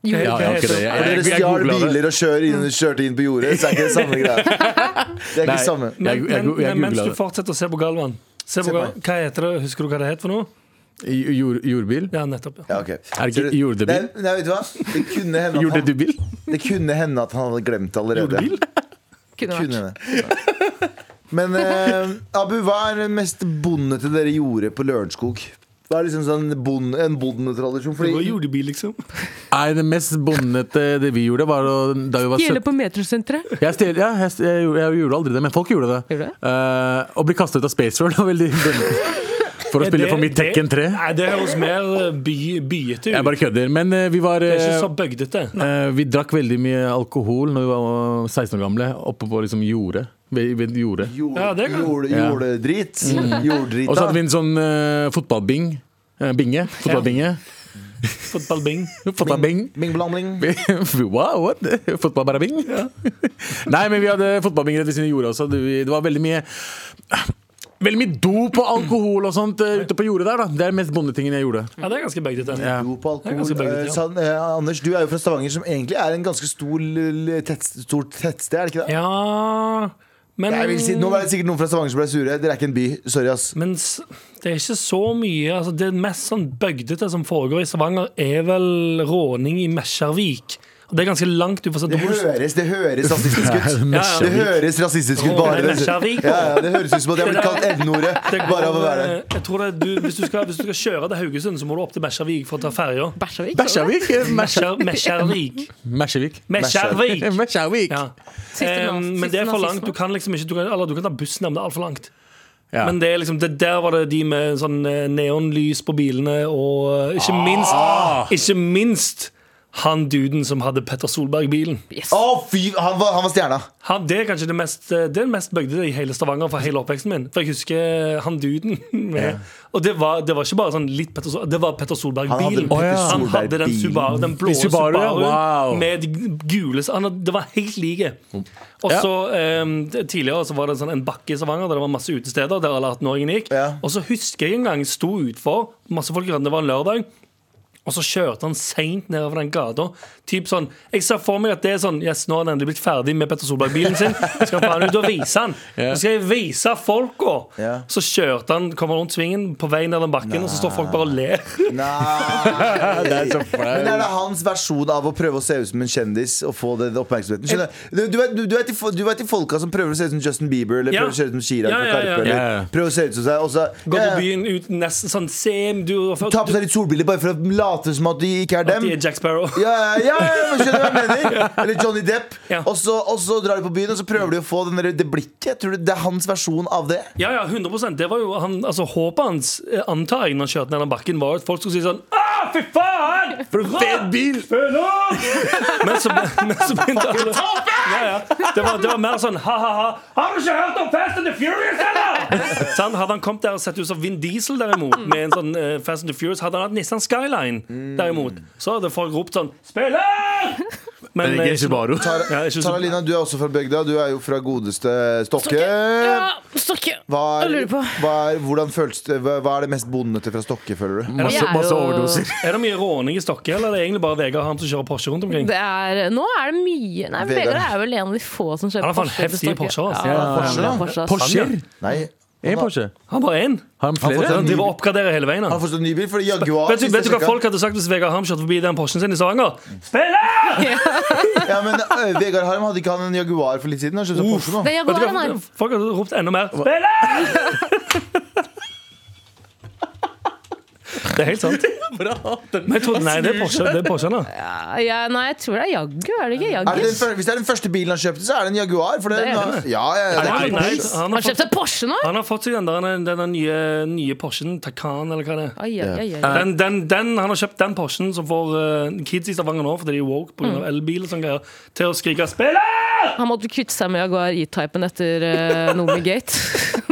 Ja, ja, ok, heter det- det? jeg- Når dere stjal googlet det. biler og kjør inn, kjørte inn på jordet, så er ikke det samme greia. Det er ikke Nei. samme. Jeg- jeg- jeg Men- men- men Mens googlet du det. fortsetter å se på Galvan, se på Se på Gal- hva heter det? Husker du hva det het for noe? I- Jord, jordbil? Ja, nettopp. ja. Ja, ok. Er det ikke jordebil? Nei, nei, vet du hva? Det kunne hende at han, Jordedubil? det kunne hende at han hadde glemt det allerede. Jordebil? Kunne vært. Kunne det. Men eh, Abu, hva er det mest bondete dere gjorde på Lørenskog? Hva er liksom sånn bond, en bondetradisjon? Det var Fordi jordebil, liksom. Nei, det mest bondete det vi gjorde, var å, da vi var Gjelde 17 på metrosenteret. jeg, stjel, ja, jeg, stjel, jeg, gjorde- jeg gjorde aldri det, men folk gjorde det. Gjorde det? Eh, å bli kasta ut av Space World var veldig bondete. For å Er spille det- for mitt det- Tekken 3. Nei, det høres mer eh, by, byete Jeg ut. bare kødder. Men eh, vi var Det er ikke eh, så bøgdete. Eh, vi drakk veldig mye alkohol når vi var 16 år gamle, oppe på liksom jordet. Ved, ved jordet. jord, Ja, det er godt. jord, Ja. Mm. jordedrit. Jorddrita. Og så hadde vi en sånn eh, fotballbing. Eh, binge. Fotballbinge. Fotballbing. Fotballbing. Ming-blamling. wow, what? Fotballbarabing? Nei, men vi hadde fotballbing rett ved siden av jorda også. Det vi- det var veldig mye Veldig mye dop og alkohol og sånt eh, ute på jordet der. da Det er den mest bondetingen jeg gjorde. Ja, det er ganske bøgdete. Ja. Jo på Jeg er ganske alkohol. begge Eh, til, ja. San- eh, Anders, du er jo fra Stavanger, som egentlig er en ganske stor, l- l- tett, stort tettsted, er det ikke det? Ja men, Jeg vil si, nå var det sikkert noen fra Stavanger som ble sure. Dere er ikke en by. Sorry, ass. men s- det er ikke så mye altså, Det mest sånn bøgdete som foregår i Stavanger, er vel råning i Mesjarvik. Og det er ganske langt. Du får Det høres, det høres rasistisk ut. Ja, ja. Det høres rasistisk ut bare det. Ja, Mesjarvik. ja, det høres ut som at jeg har blitt kalt N-ordet bare av å være der. eh, Jeg tror det, du, hvis, du skal, hvis du skal kjøre til Haugesund, så må du opp til Mesjarvik for å ta ferja. Bæsjavik. Mesjavik? Mesjarvik. Mesjavik. Mesjarvik. Mesjavik. Ja. Siste Eh, nas- men siste det er for langt. nazisme. Du kan liksom ikke du kan, Eller du kan ta bussen, men det er altfor langt. Ja. Men det er liksom, det der var det de med sånn eh, neonlys på bilene, og eh, ikke minst Ikke minst han duden som hadde Petter Solberg-bilen. Yes. Å, fy! Han var, han var stjerna. Han, det er kanskje det mest, eh, det er den mest bøgde i hele Stavanger fra hele oppveksten min. For jeg husker eh, han duden. Med, Og det var, det var ikke bare sånn litt Petter Solberg, det var Petter Han hadde Solberg-bilen. Petter Han hadde den, Solberg-bilen. Subaru, den blå I Subaru, ja. Subaruen Wow. Mm. med de gule han, hadde- Det var helt like. Og Ja. så ehm, det- Tidligere så var det en sånn, en bakke i Stavanger der det var masse utesteder der alle 18-åringene gikk. Ja. Og så husker jeg en gang jeg sto utfor, masse folk rundt, det var en lørdag. Og så kjørte han seint nedover den gata. Typ sånn, jeg ser for meg at det er sånn Yes, nå har han endelig blitt ferdig med Petter Solberg-bilen sin. Jeg skal faen ut og vise han Nå skal jeg vise folka! Ja. Så kjørte han, kommer rundt svingen, på vei ned den bakken, og så står folk bare og ler. Nei. Det er så Men er flaut. det hans versjon av å prøve å se ut som en kjendis og få den oppmerksomheten? Skjønner Du, du, vet, du, du, vet de, fo- du vet de folka som prøver å se ut som Justin Bieber eller Ja. prøver å se ut som Chirag Ja, fra ja, ja. Karpe, eller Ja, ja. prøver å se ut som seg, og så Gå ja, på ja. byen uten nesten sånn Sem, du Ta på seg litt solbriller bare for å late som at de ikke er At dem. de er Jack Sparrow. Ja, ja, ja, ja, men skjønner du hva jeg mener? Eller Johnny Depp. Ja. Og, så, og så drar de på byen, og så prøver de å få den der, det blikket. Tror du det er hans versjon av det? Ja, ja, 100 Det var jo han, altså Håpet hans, eh, antar jeg, når han kjørte ned den bakken, var at folk skulle si sånn Ah, fy faen! For en fet bil! Men så, men så begynte alle ja, ja. Det, var, det var mer sånn ha-ha-ha. Har du ikke hørt om Fast and the Furious, eller?! Sånn, hadde han kommet der og sett ut som Vin Diesel, derimot, med en sånn eh, Fast and the Furious, hadde han hatt Nissan Skyline, Mm. derimot, så hadde folk ropt sånn Spiller! Men ikke eh, Subaru. Tara, Ja, ikke så- Tara Lina, du er også fra bygda. Du er jo fra godeste Stokke. Ja, Stokke. Hva Jeg er, lurer på. hva, er, hvordan føles det, hva hva er det mest bondete fra Stokke, føler du? Masse, Vi er masse jo- overdoser. er det mye råning i Stokke, eller er det egentlig bare Vegard Ham som kjører Porsche rundt omkring? Det er, nå er det mye Nei, men Vegard. Vegard er vel en av de få som kjøper Han har faen Porsche til heftige Stokke. Porscher, altså. Ja, Ja, han har Porsche, vel da. Porsche, altså. Porscher? Nei, En Porsche? Han bare én. Har han flere? Han driver og oppgraderer hele veien. Han har Han. fått en ny bil, for Jaguar Vet, du, sist vet du jeg hva sjekket. folk hadde sagt hvis Vegard Harm kjørte forbi den Porschen sin i Stavanger? Spiller! ja, men, ø, Vegard Harm hadde ikke han en Jaguar for litt siden? Han kjøpte Porsche nå. Det er Vet du Jaguar han hva? har. Folk hadde ropt enda mer. Spiller! Det er helt sant. Men jeg trodde, nei, det er Porsche. Det er Porsche nå. Ja, nei, jeg tror det er Jaggu, er det ikke? Er det den, Jaggis. fyr- hvis det er den første bilen han kjøpte, så er det en Jaguar. For det, Det er ja, ja, ja, det Nei, er nei, ikke Porsche. Har han, har han fått, kjøpt en Porsche nå? han har fått seg den der, den der nye, nye Porschen, Takan eller hva det er. Oi, oi, oi, oi. Den, den, den, han har kjøpt den Porschen som får eh, kids i Stavanger nå, fordi de er woke pga. elbil og sånne greier, til å skrike 'spiller'! Han måtte kvitte seg med Jaguar E-typen etter uh, Numigate.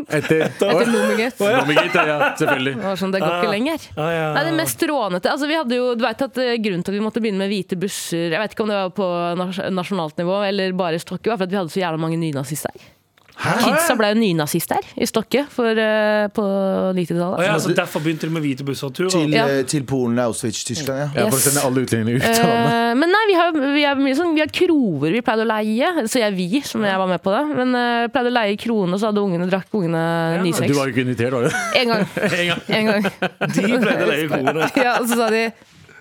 Etter etter Numigate. Domigate, ja. Det Selvfølgelig. var sånn, det går ikke lenger. Ja, ja. Nei, det mest rånete altså, vi hadde jo, du vet at eh, Grunnen til at vi måtte begynne med hvite busser Jeg vet ikke om det var på nas nasjonalt nivå eller bare i Stokke, var for at vi hadde så jævla mange nynazister. Kidsa ble jo nynazister i Stokke for, eh, på 90-tallet. Å ja, så derfor begynte de med hvite busser og turer. Til, Ja. ø, til Polen, Auschwitz, Tyskland. Ja. Ja, for å sende alle utlendingene ut. av landet. Eh, men nei, vi har, vi, har mye sånn, vi har kroer vi pleide å leie. Så jeg vi, som jeg var med på det. Men eh, pleide å leie kroene, så hadde ungene, drakk ungene Du nysex. var jo ikke invitert, var du? En gang. En gang. De pleide å leie kroene. Ja, og så sa de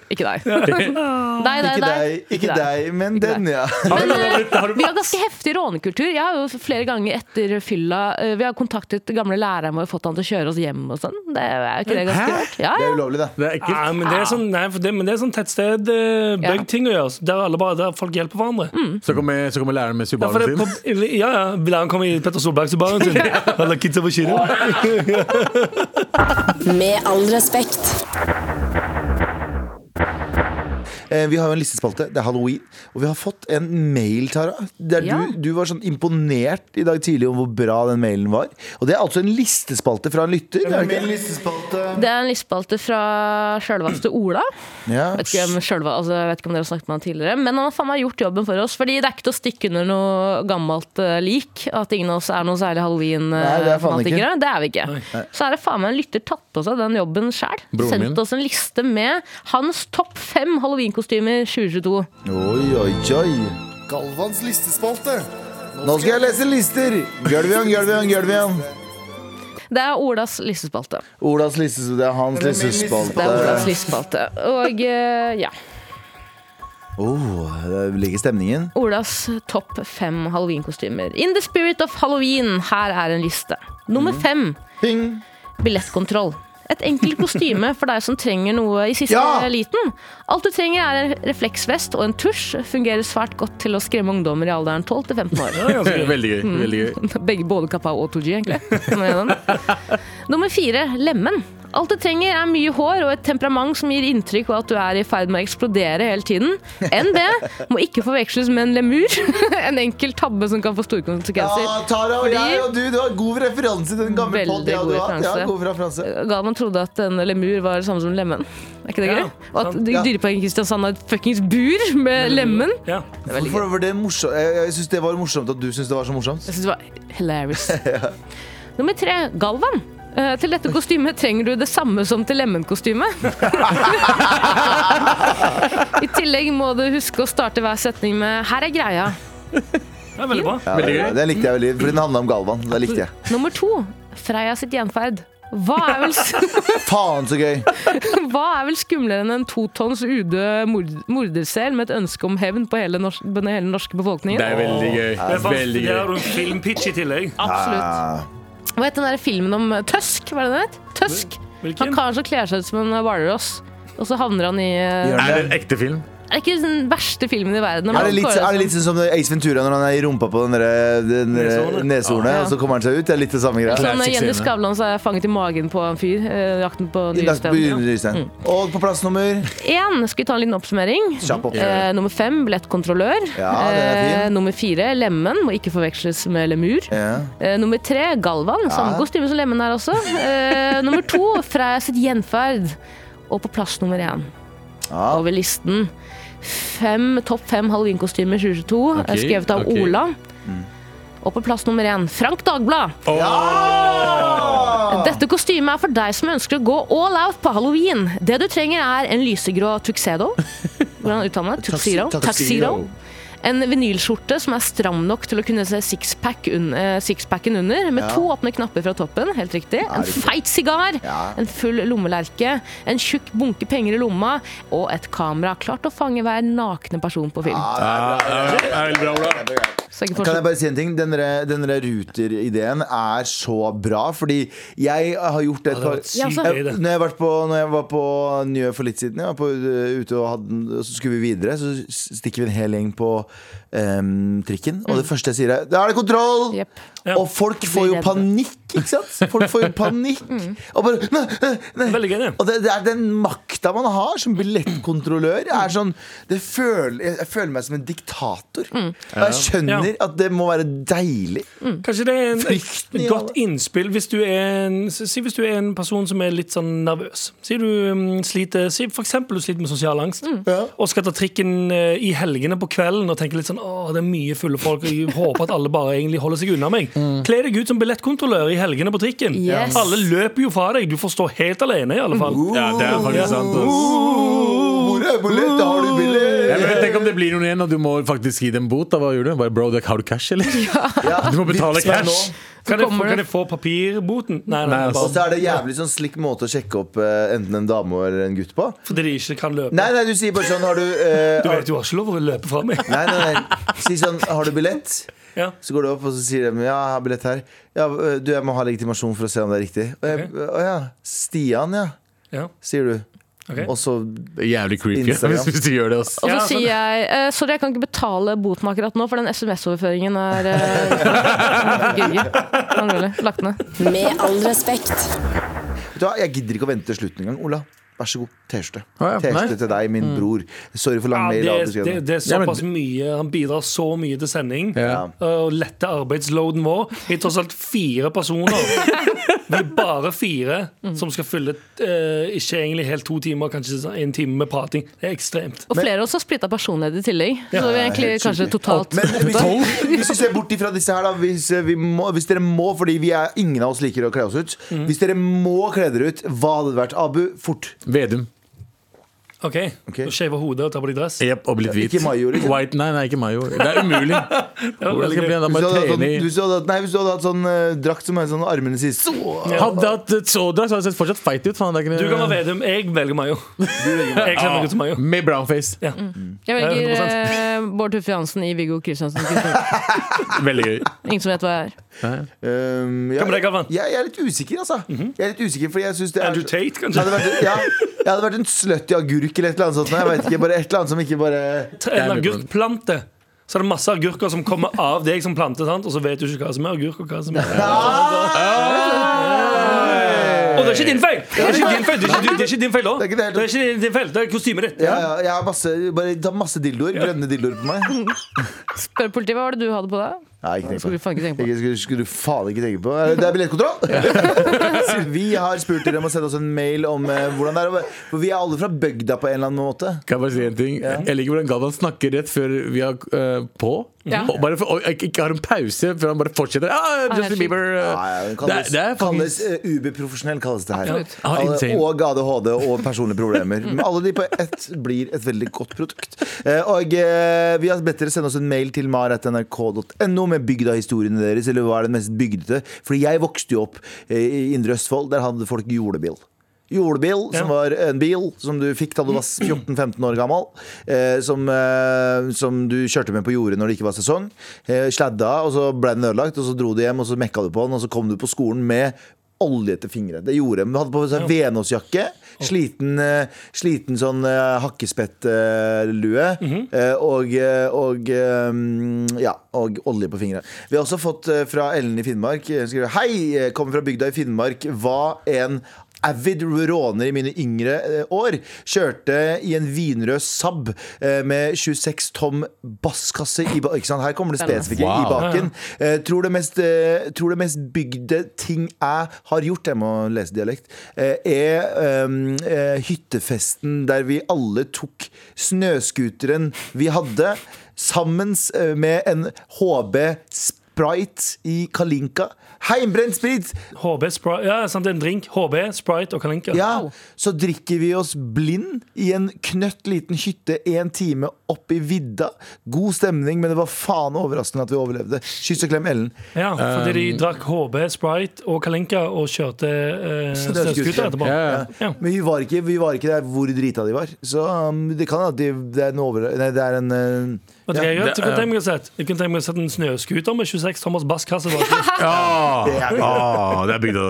ikke deg. Deg, deg, Ikke deg. deg, ikke deg, men den, ja. Men eh, vi har ganske heftig rånekultur. Jeg har jo flere ganger etter fylla eh, Vi har kontaktet gamle læreren vår og fått han til å kjøre oss hjem og sånn. Det er ikke det ganske rart? Ja, Det er ja. ulovlig, det. Det er ekkelt. Nei, men det er sånn, nei, for det, men det er sånn tettsted eh, bygd Ja. ting å gjøre. så Der, alle bare, der folk hjelper hverandre. Så kommer, så kommer læreren med Ja, for Subaru det, sin. på, ja, ja, Læreren kommer i Petter Solberg til baren sin. Eller kidsa på kino. Med all respekt. Eh, Vi har jo en listespalte, det er halloween Og vi har fått en mail, Tara Der Ja. du, du var sånn imponert i dag tidlig Om hvor bra den mailen var Og det er altså en listespalte fra en lytter det er ikke? Det er en listespalte fra sjølveste Ola. Ja. Vet ikke, om sjølve, altså, jeg vet ikke om dere har snakket med han tidligere, men han har faen meg gjort jobben for oss. Fordi det er ikke til å stikke under noe gammelt eh, lik at ingen av oss er noe særlig Nei, det er faen ikke. halloween-fanatikere. Det er vi ikke. Så er det faen meg en lytter tatt på seg den jobben sjæl. Broren min. Sendt oss en liste med hans topp fem halloweenkostymer 2022. Oi, oi, oi Galvans listespalte. Nå skal jeg lese lister Gølvian, Gølvian, Gølvian Det er Olas listespalte. Olas listespalte, det er hans Det er min Det er Olas listespalte listespalte. Og eh, ja. oh, Det ligger stemningen Olas topp fem halloweenkostymer. In the spirit of halloween, her er en liste. Nummer fem. Ping Billettkontroll. Et enkelt kostyme for deg som trenger noe i siste Ja! liten. Alt du trenger er en refleksvest og en tusj. Fungerer svært godt til å skremme ungdommer i alderen 12 til 15 år. Veldig gøy. veldig gøy Begge både Kappa og 2G, egentlig. Kom igjen. Nummer fire, lemen. Alt du trenger er mye hår og et temperament som gir inntrykk av at du er i ferd med å eksplodere hele tiden. NB må ikke forveksles med en lemur. en enkel tabbe som kan få store Ja, konsekvenser. Tara og Fordi- jeg og du, du har god referanse til den gamle Veldig podden Ja, du god har, ja, referanse. god referanse. Galvan trodde at en lemur var det samme som lemen. Er ikke det Ja, gøy? Og at sant. Ja. Dyreparken i Kristiansand har et fuckings bur med lemen. Ja. Hvorfor var det morsomt? Jeg, jeg syns det var morsomt at du syns det var så morsomt. Jeg synes det var hilarious. Nummer tre, Galvan. Eh, til dette kostymet trenger du det samme som til lemenkostymet. I tillegg må du huske å starte hver setning med 'her er greia'. Det er veldig bra. Ja, det, det likte jeg veldig, fordi den handla om Galvan. Det likte jeg. Nummer to, Freya sitt gjenferd. Hva er vel, Faen, så gøy! hva er vel skumlere enn en totons udød mord mordersel med et ønske om hevn på hele, norsk, på hele den norske befolkningen? Det er veldig gøy. Det er faktisk- Veldig Der gøy. har du en filmpitch i tillegg. Absolutt. Ah, Hva het den der filmen om eh, Tøsk? Var det den het? Tøsk. Han Hvilken? karen som kler seg ut som en hvalross, og så havner han i eh, Er det en ekte film? Er det ikke den verste filmen i verden? Er det, litt, er det litt sånn som Ace Ventura når han er i rumpa på den der- den der Neshornet. neshornet, Ja. og så kommer han seg ut? Det er litt det samme greia. Sånn, Classic Jenny scene. Skavlan som er fanget i magen på en fyr. eh, jakten på I Lagt på nyestedet. Rydstein. Og på plass nummer Én, skal vi ta en liten oppsummering? Kjapp opp. Eh, nummer fem, billettkontrollør. Ja, den er fin. Eh, nummer fire, Lemmen. Må ikke forveksles med lemur. Ja. Eh, nummer tre, Galvan. Samme kostyme som Lemmen er også. Eh, nummer to, Freya sitt gjenferd. Og på plass nummer én Ja. over listen fem, topp fem halloweenkostymer 2022, Ok, skrevet av ok. Ola. Mm. Og på plass nummer én, Frank Dagblad. Ah. Dette kostymet er for deg som ønsker å gå all out på halloween. Det du trenger er en lysegrå tuxedo. Hvordan uttaler man det? Tuxedo. Tuxedo. En vinylskjorte som er stram nok til å kunne se sixpack un eh, sixpacken under, med to åpne knapper fra toppen. helt riktig. En riktig. feit sigar, Ja. en full lommelerke, en tjukk bunke penger i lomma og et kamera klart å fange hver nakne person på film. Ja, det er- det er veldig bra, Ola. Så jeg Kan ikke jeg forstår. bare si en ting? Den der- den der ruter-ideen er så bra, fordi jeg har gjort det et par vært sykt Ja, altså. gøy, det. når jeg, var på, når jeg var på Njø for litt siden, jeg var på, eh, ute og hadde, og så skulle vi videre, så stikker vi en hel gjeng på em, trikken. Og det første jeg sier, er Da er det kontroll! Jepp. Og folk får jo redde. panikk, ikke sant? Folk får jo panikk. Og bare nei, nei, nei. Veldig gøy, det. Og det, det er den makta man har som billettkontrollør. Er sånn, det føler, jeg, jeg føler meg som en diktator. Og jeg skjønner at det må være deilig. Kanskje det er en, Frykten i et godt alle. innspill hvis du, er en, si hvis du er en person som er litt sånn nervøs. Si du mm, sliter si for eksempel du sliter med sosial angst Mm. Ja. og skal ta trikken eh, i helgene på kvelden og tenker litt sånn Åh, det er mye fulle folk, og jeg håper at alle bare egentlig holder seg unna meg. Mm. Kle deg ut som billettkontrollør i helgene på trikken. Yes. Alle løper jo fra deg. Du får stå helt alene, i alle fall. Mm. Ja, det er faktisk sant. ass. Uh, Hvor er billett? Da har du billett! Jeg vet, tenk om det blir noen igjen, og du må faktisk gi dem bot. Da, hva gjør du? Bare, bro, har du cash, eller? Du må betale vips meg cash. nå. Kan jeg, få- kommer det- kan jeg få papirboten? Nei, nei, Nei, Og bare så er det jævlig sånn slik måte å sjekke opp eh, enten en dame eller en gutt på. fordi de ikke kan løpe. Nei, nei, du sier bare sånn Har du eh, Du vet, du har ikke lov å løpe fra meg. Nei, nei, nei. Si sånn Har du billett? Ja. Så går du opp, og så sier de Ja, jeg har billett her. Ja, øh, du, jeg må ha legitimasjon for å se om det er riktig. Å jeg- å ja. Stian, ja, Ja. sier du. Ok. Og så Det er Jævlig creepy Instagram. hvis, hvis du gjør det. ass. Og så Ja, sier sånn. jeg eh, sorry, jeg kan ikke betale boten akkurat nå, for den SMS-overføringen er eh, gøy. Angrer. Lagt ned. Med all respekt. Vet du hva, jeg gidder ikke å vente til slutten engang, Ola. Vær så god. T-skjorte. Ah, ja. Nei. T-skjorte til deg, min bror. Sorry for lang mail. Ja, alt du det, skrev. det, det er Ja, men- såpass mye. Han bidrar så mye til sending. eh, Ja. Og lette arbeidsloaden vår. Vi er tross alt fire personer. Vi er bare fire som skal fylle eh, ikke egentlig helt to timer, kanskje sånn en time med prating. Det er ekstremt. Og flere av oss har splitta personlighet i tillegg. Så vi er egentlig helt kanskje sjukt. totalt Men hvis, hvis vi ser bort ifra disse her, da. Hvis, eh, vi må, hvis dere må, fordi vi er, ingen av oss liker å kle oss ut. Hvis dere må kle dere ut, hva hadde det vært? Abu, fort. Vedum. OK. Ok. okay. Shave hodet og ta på deg dress. Jep, og blitt hvit. Ikke Mayo, liksom. White, nei, nei, ikke Mayo. Det er umulig. Hvordan skal jeg bli da? Hvis du hadde hatt sånn, Bare trene i hvis du hadde, hatt- nei, hvis du hadde hatt sånn eh, drakt som er sånn armene sier så Hadde jeg hatt et sådrakt, så hadde jeg sett fortsatt feit ut. Faen, det er ikke Du kan noe- være Vedum. Jeg velger Mayo. Jeg kler meg ut som Mayo. Med brownface. Ja. Jeg velger 100%. eh, Bård Tuffe Johansen i Viggo Kristiansen. Kristiansen. Veldig gøy. Ingen som vet hva jeg er. Um, jeg, Hva med deg, Galvan? jeg, jeg er litt usikker, altså. Jeg er litt usikker, fordi jeg synes det er Andrew Tate, jeg hadde, kanskje? vært, ja, jeg hadde vært en slutty agurk eller et eller annet sånt. Nei, jeg vet ikke, bare et eller annet som ikke bare En agurkplante. Så er det masse agurker som kommer av deg som plante, sant? og så vet du ikke hva som er agurk og hva som er Og det er ikke din feil! Det er ikke din feil, det er ikke, det er ikke din feil også. Det er ikke det helt- Det er ikke din feil, det er kostymet ditt. Ja, ja, jeg har masse, bare, det er masse dildoer. Grønne dildoer på meg. Spør politiet, hva var det du hadde på deg? Nei, ikke tenk på Skulle det. vi faen ikke tenke på. Ikke, skulle, skulle du faen ikke tenke på Eh, Det er billettkontroll! Så vi har spurt dere om å sende oss en mail om eh, hvordan det er. å- For vi er alle fra bygda på en eller annen måte. Kan jeg bare si en ting? Jeg liker hvordan Galvan snakker rett før vi er eh, på. Ja. Og bare for, og ikke ikke har en pause før han bare fortsetter. Ah, det er Justin sjukt. Bieber eh, Nei, det Det kalles, er- det er kalles faktisk- eh, ubeprofesjonell, kalles det her. Absolutt. Ja, Alle- insane. og ADHD og personlige problemer. Men alle de på ett blir et veldig godt produkt. Eh, Og eh, vi har bedt dere sende oss en mail til mar.nrk.no med bygdahistoriene deres, eller hva er det mest bygdete? Fordi jeg vokste jo opp eh, i Indre Østfold, der hadde folk jordebil. Jordebil, som Ja. var en bil som du fikk da du var 14-15 år gammel. Eh, som, eh, som du kjørte med på jordet når det ikke var sesong. Eh, sladda, og så ble den ødelagt, og så dro du hjem, og så mekka du på den, og så kom du på skolen med olje til fingre. Det gjorde de. Du hadde på seg Venåsjakke. Sliten, eh, sliten sånn eh, hakkespettlue. eh, og eh, og eh, mm, ja, og olje på fingre. Vi har også fått eh, fra Ellen i Finnmark. eh, Skriver, Hei, eh, kommer fra bygda i Finnmark. Var en avid råner i mine yngre eh, år. Kjørte i en vinrød Saab eh, med 26 tom basskasse i ba Ikke sant, her kommer det spesifikke i Wow. baken. Eh, tror, det mest, eh, tror det mest bygde ting jeg har gjort, jeg må lese dialekt, eh, er ehm, eh, hyttefesten der vi alle tok snøskuteren vi hadde, sammen eh, med en HB Sprite i Kalinka. Heimbrent sprit! HB, Sprite, ja, sant, det er en drink. HB, Sprite og Kalinka. Ja, så drikker vi oss blind i en knøtt liten hytte en time opp i vidda. God stemning, men det var faen overraskende at vi overlevde. Kyss og klem Ellen. Ja, fordi de Um, drakk HB, Sprite og Kalinka og kjørte eh, Snøscooter. snøscooter etterpå. Ja, ja. Ja. Men vi var ikke, vi var ikke der hvor drita de var. Så um, det kan at de, det er en over... Nei, det er en uh, Vet du hva jeg gjør? det- Så kunne tenke meg å sette- Jeg kunne tenke meg å sette en snøscooter med 26 Thomas Bass-kasse bak. ah, ah, det er bygda.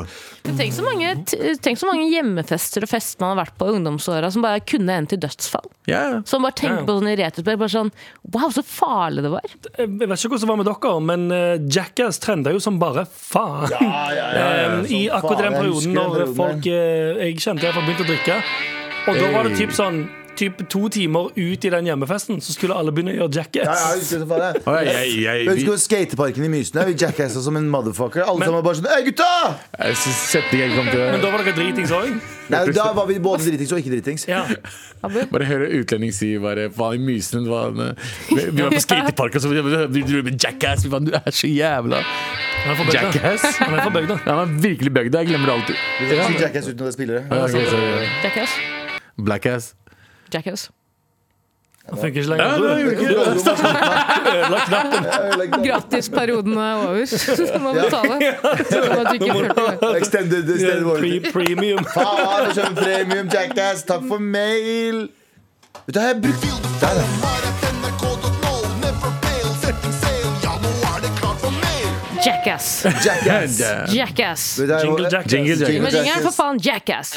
Tenk så, mange, t- tenk så mange hjemmefester og fester man har vært på i ungdomsåra som bare kunne endt i dødsfall. Ja, ja. Som bare tenker Ja. på sånn i retrospekt. Bare sånn Wow, så farlig det var. Eh, Jeg vet ikke hvordan det var med dere, men eh, Jackass trenda jo som bare faen. Eh, I akkurat den faen, jeg husker perioden den når perioden folk eh, jeg kjente, jeg begynte å drikke. Og da var det typ sånn typ to timer ut i den hjemmefesten, så skulle alle begynne å gjøre Ja, Jackass. ja, jeg husker det, faen, jeg. Ah, jeg, jeg, Jeg husker jeg, jo skateparken i Mysen. Vi jackassa som en motherfucker. Alle sammen var bare sånn Øy, gutta! jeg synes setningen jeg kom Men til da var dere dritings òg? Nei, da var vi både dritings og ikke dritings. Ja. Bare høre utlending si bare Faen, i mysen var han, eh, Vi vi var på skatepark, og så vi dro med jackass. Vi faen, du er så jævla Han er fra bygda. jackass. Han er fra bygda. Han er virkelig bygda. Jeg glemmer det alltid. Vi skal si Jackass uten at det er spillere. Ja, ok, sorry. Jackass. Blackass. Jackass. Han funker ikke lenger. Gratisperioden er over. Du må betale. Extended, Du er extended en warranty. pre- Premium. Faen, jeg kjøper premium Jackass. Takk for mail. Vet du, hva, jeg brukte Der, ja. Jackass. Jackass. Jackass. Vet du, jeg- Jingle Jackass. Jingle Jackass. Men ringeren, for Jackass. faen. Jackass.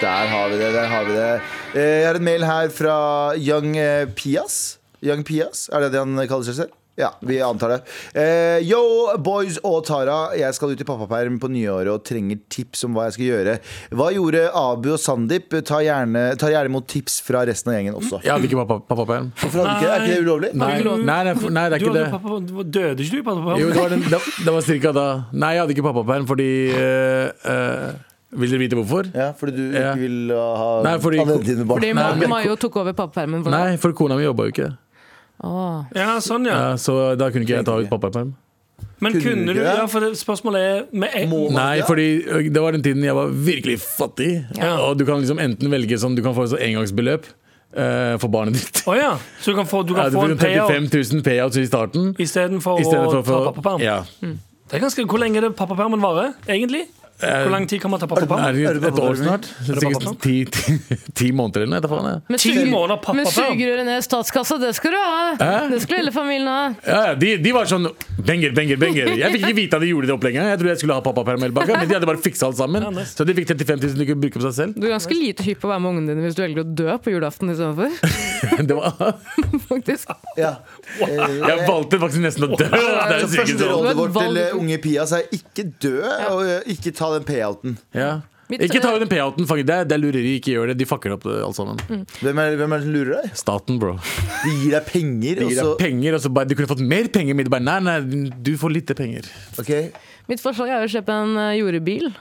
Der har vi det. der har vi det Eh, Jeg har en mail her fra Young eh, Pias. Young Pias, er det det han kaller seg selv? Ja, vi antar det. Eh, yo, boys og Tara. Jeg skal ut i pappaperm på nyåret og trenger tips om hva jeg skal gjøre. Hva gjorde Abu og Sandeep? Ta gjerne, ta gjerne imot tips fra resten av gjengen også. Jeg hadde ikke pappa- pappaperm. Hvorfor hadde du ikke det? Er ikke det ulovlig? Nei, nei, nei, for- nei, det er Du ikke hadde det. pappa, døde ikke du, pappa? Jo, det var, den, det, det var cirka da. Nei, jeg hadde ikke pappaperm fordi eh, eh, Vil dere vite hvorfor? Ja, fordi du Ja. ikke vil eh, ha Nei, fordi- alle dine barn? Fordi Nei, Ma- men- Mayo tok over pappapermen for deg. Nei, for kona mi jobba jo ikke. Åh. Ja, sånn, ja. Ja, så da kunne ikke jeg ta ut pappaperm. Men Kunne kunne du du ikke det? Ja, for det, spørsmålet er med en, Må- Nei, Ja. fordi ø, det var den tiden jeg var virkelig fattig. Og du kan liksom enten velge sånn Du kan få et sånt engangsbeløp eh, for barnet ditt. Å ja. Så du kan få, du Ja, kan du få får en payout 35 000 payouts i starten. istedenfor I å stedet for å ta få- pappaperm? Ja. Det er ganske, hvor lenge er det pappapermen varer, egentlig? Hvor lang tid kan man ta Eh, Er pappaperm? det Er det et pappaperm? år snart? Er det Sikkert ti, ti, ti måneder eller noe. vet du faen jeg. Men Ti suger- måneder Men pappaperm! sugerøret ned i statskassa, det skal du ha! Hæ? Det skulle hele familien ha. Ja, ja, de, de var sånn Benger, benger, benger. Jeg fikk ikke vite at de gjorde det opplegget. Jeg trodde jeg skulle ha pappaperm, hele pakka, men de hadde bare fiksa alt sammen. Så de fikk 35 000 de kunne bruke på seg selv. Du er ganske lite hypp på å være med ungene dine hvis du velger å dø på julaften istedenfor. Det var, Faktisk. Ja. Eh, jeg valgte faktisk nesten å dø. Det er jo Så første sikkert sånn. rådet vårt Det var et til valg. unge Pias er ikke dø, og eh, ikke ta den payouten. Ja. Mitt, Ikke ta eh, ut den payouten, fuck it, det, er- det er lureri. Ikke gjør det. De fucker opp det, alt sammen. Hvem er, hvem er det som lurer deg? Staten, bro. De gir deg penger, De og gir deg så penger, og så bare Du kunne fått mer penger, men de bare Nei, nei, du får lite penger. Ok, mitt forslag er jo å kjøpe en eh, jordebil.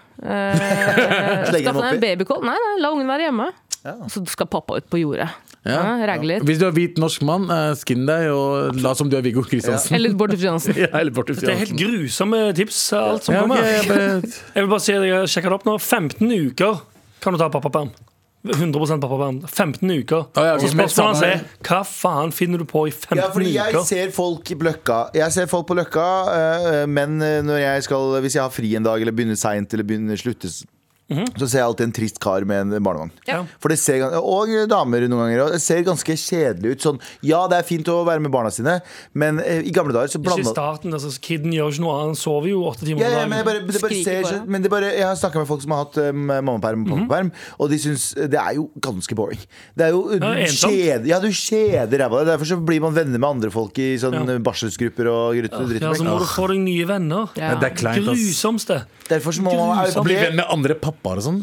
Eh, Slenge den Skaffe deg oppi. en babycall. Nei, nei, la ungen være hjemme. Så skal pappa ut på jordet. Ja. Ragge litt. Hvis du er hvit norsk mann, eh, skinn deg og la som du er Viggo Kristiansen. Eller Bård Friansen. Ja, eller Bård Tufte Det er helt Johansen. grusomme tips. Alt som Ja, kommer. ok, jeg bare- Jeg vil bare si at jeg har sjekket det opp nå. 15 uker kan du ta pappaperm. 100 pappaperm. 15 uker. Å, ja, altså, ok, Så men spørsmålet hans samme- er hva faen finner du på i 15 Ja, fordi jeg uker? ser folk i bløkka Jeg ser folk på løkka eh, Men eh, når jeg skal, hvis jeg har fri en dag Eller begynner sent, eller begynner sluttes Så ser jeg alltid en trist kar med en barnevogn Ja. For det ser, gan- Og damer noen ganger Og det ser ganske kjedelig ut sånn, Ja, det er fint å være med barna sine Men eh, i gamle dager så Ikke i blanda starten. Altså, kiden gjør ikke noe annet. Han sover jo åtte timer ja, ja, om dagen. men jeg, bare, det bare Skriker ser, på så- det. men det bare, jeg har snakka med folk som har hatt um, mammaperm og pappaperm, og de syns eh, det er jo ganske boring. Det er jo du ensomt. kjede, Ja, du kjeder ræva av deg. Derfor så blir man venner med andre folk i sånn Ja. eh, barselsgrupper og gritt, dritt. Ja, så må du få deg nye venner. Ja. Det er kleint, ass. Grusomste. Derfor så må man Grusomt. Bli bli venn med andre pappaer og sånn.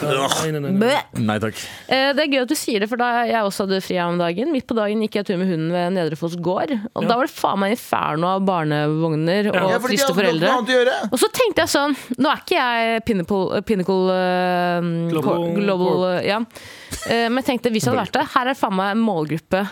Nei, nei, nei, nei. Bø. Nei takk. Eh, Det er gøy at du sier det, for da jeg også hadde fri her om dagen Midt på dagen gikk jeg tur med hunden ved Nedre Foss gård. Og da var det faen meg inferno av barnevogner og Ja, fordi de triste hadde noe foreldre. annet å gjøre. Og så tenkte jeg sånn Nå er ikke jeg Pinnacle, pinnacle eh, Global Cor- global eh, ja. Eh, Men jeg tenkte hvis jeg hadde vært det Her er faen meg en målgruppe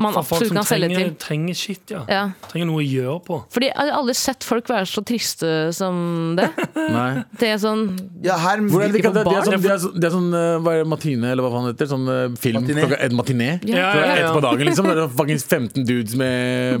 man For folk absolutt som kan selge trenger, til. trenger shit, ja. Ja. Trenger noe å gjøre på. Fordi jeg har aldri sett folk være så triste som det. Nei. Det er sånn ja, her, Hvordan er det, ikke- det, det, er barn? sånn, det, er, sånn- det er sånn eh, hva er det, matine, eller hva faen det heter Sånn eh, film Matiné. klokka et matiné. Ja, Ja, Klokka ett ja, på ja. dagen, liksom. Det er fuckings 15 dudes med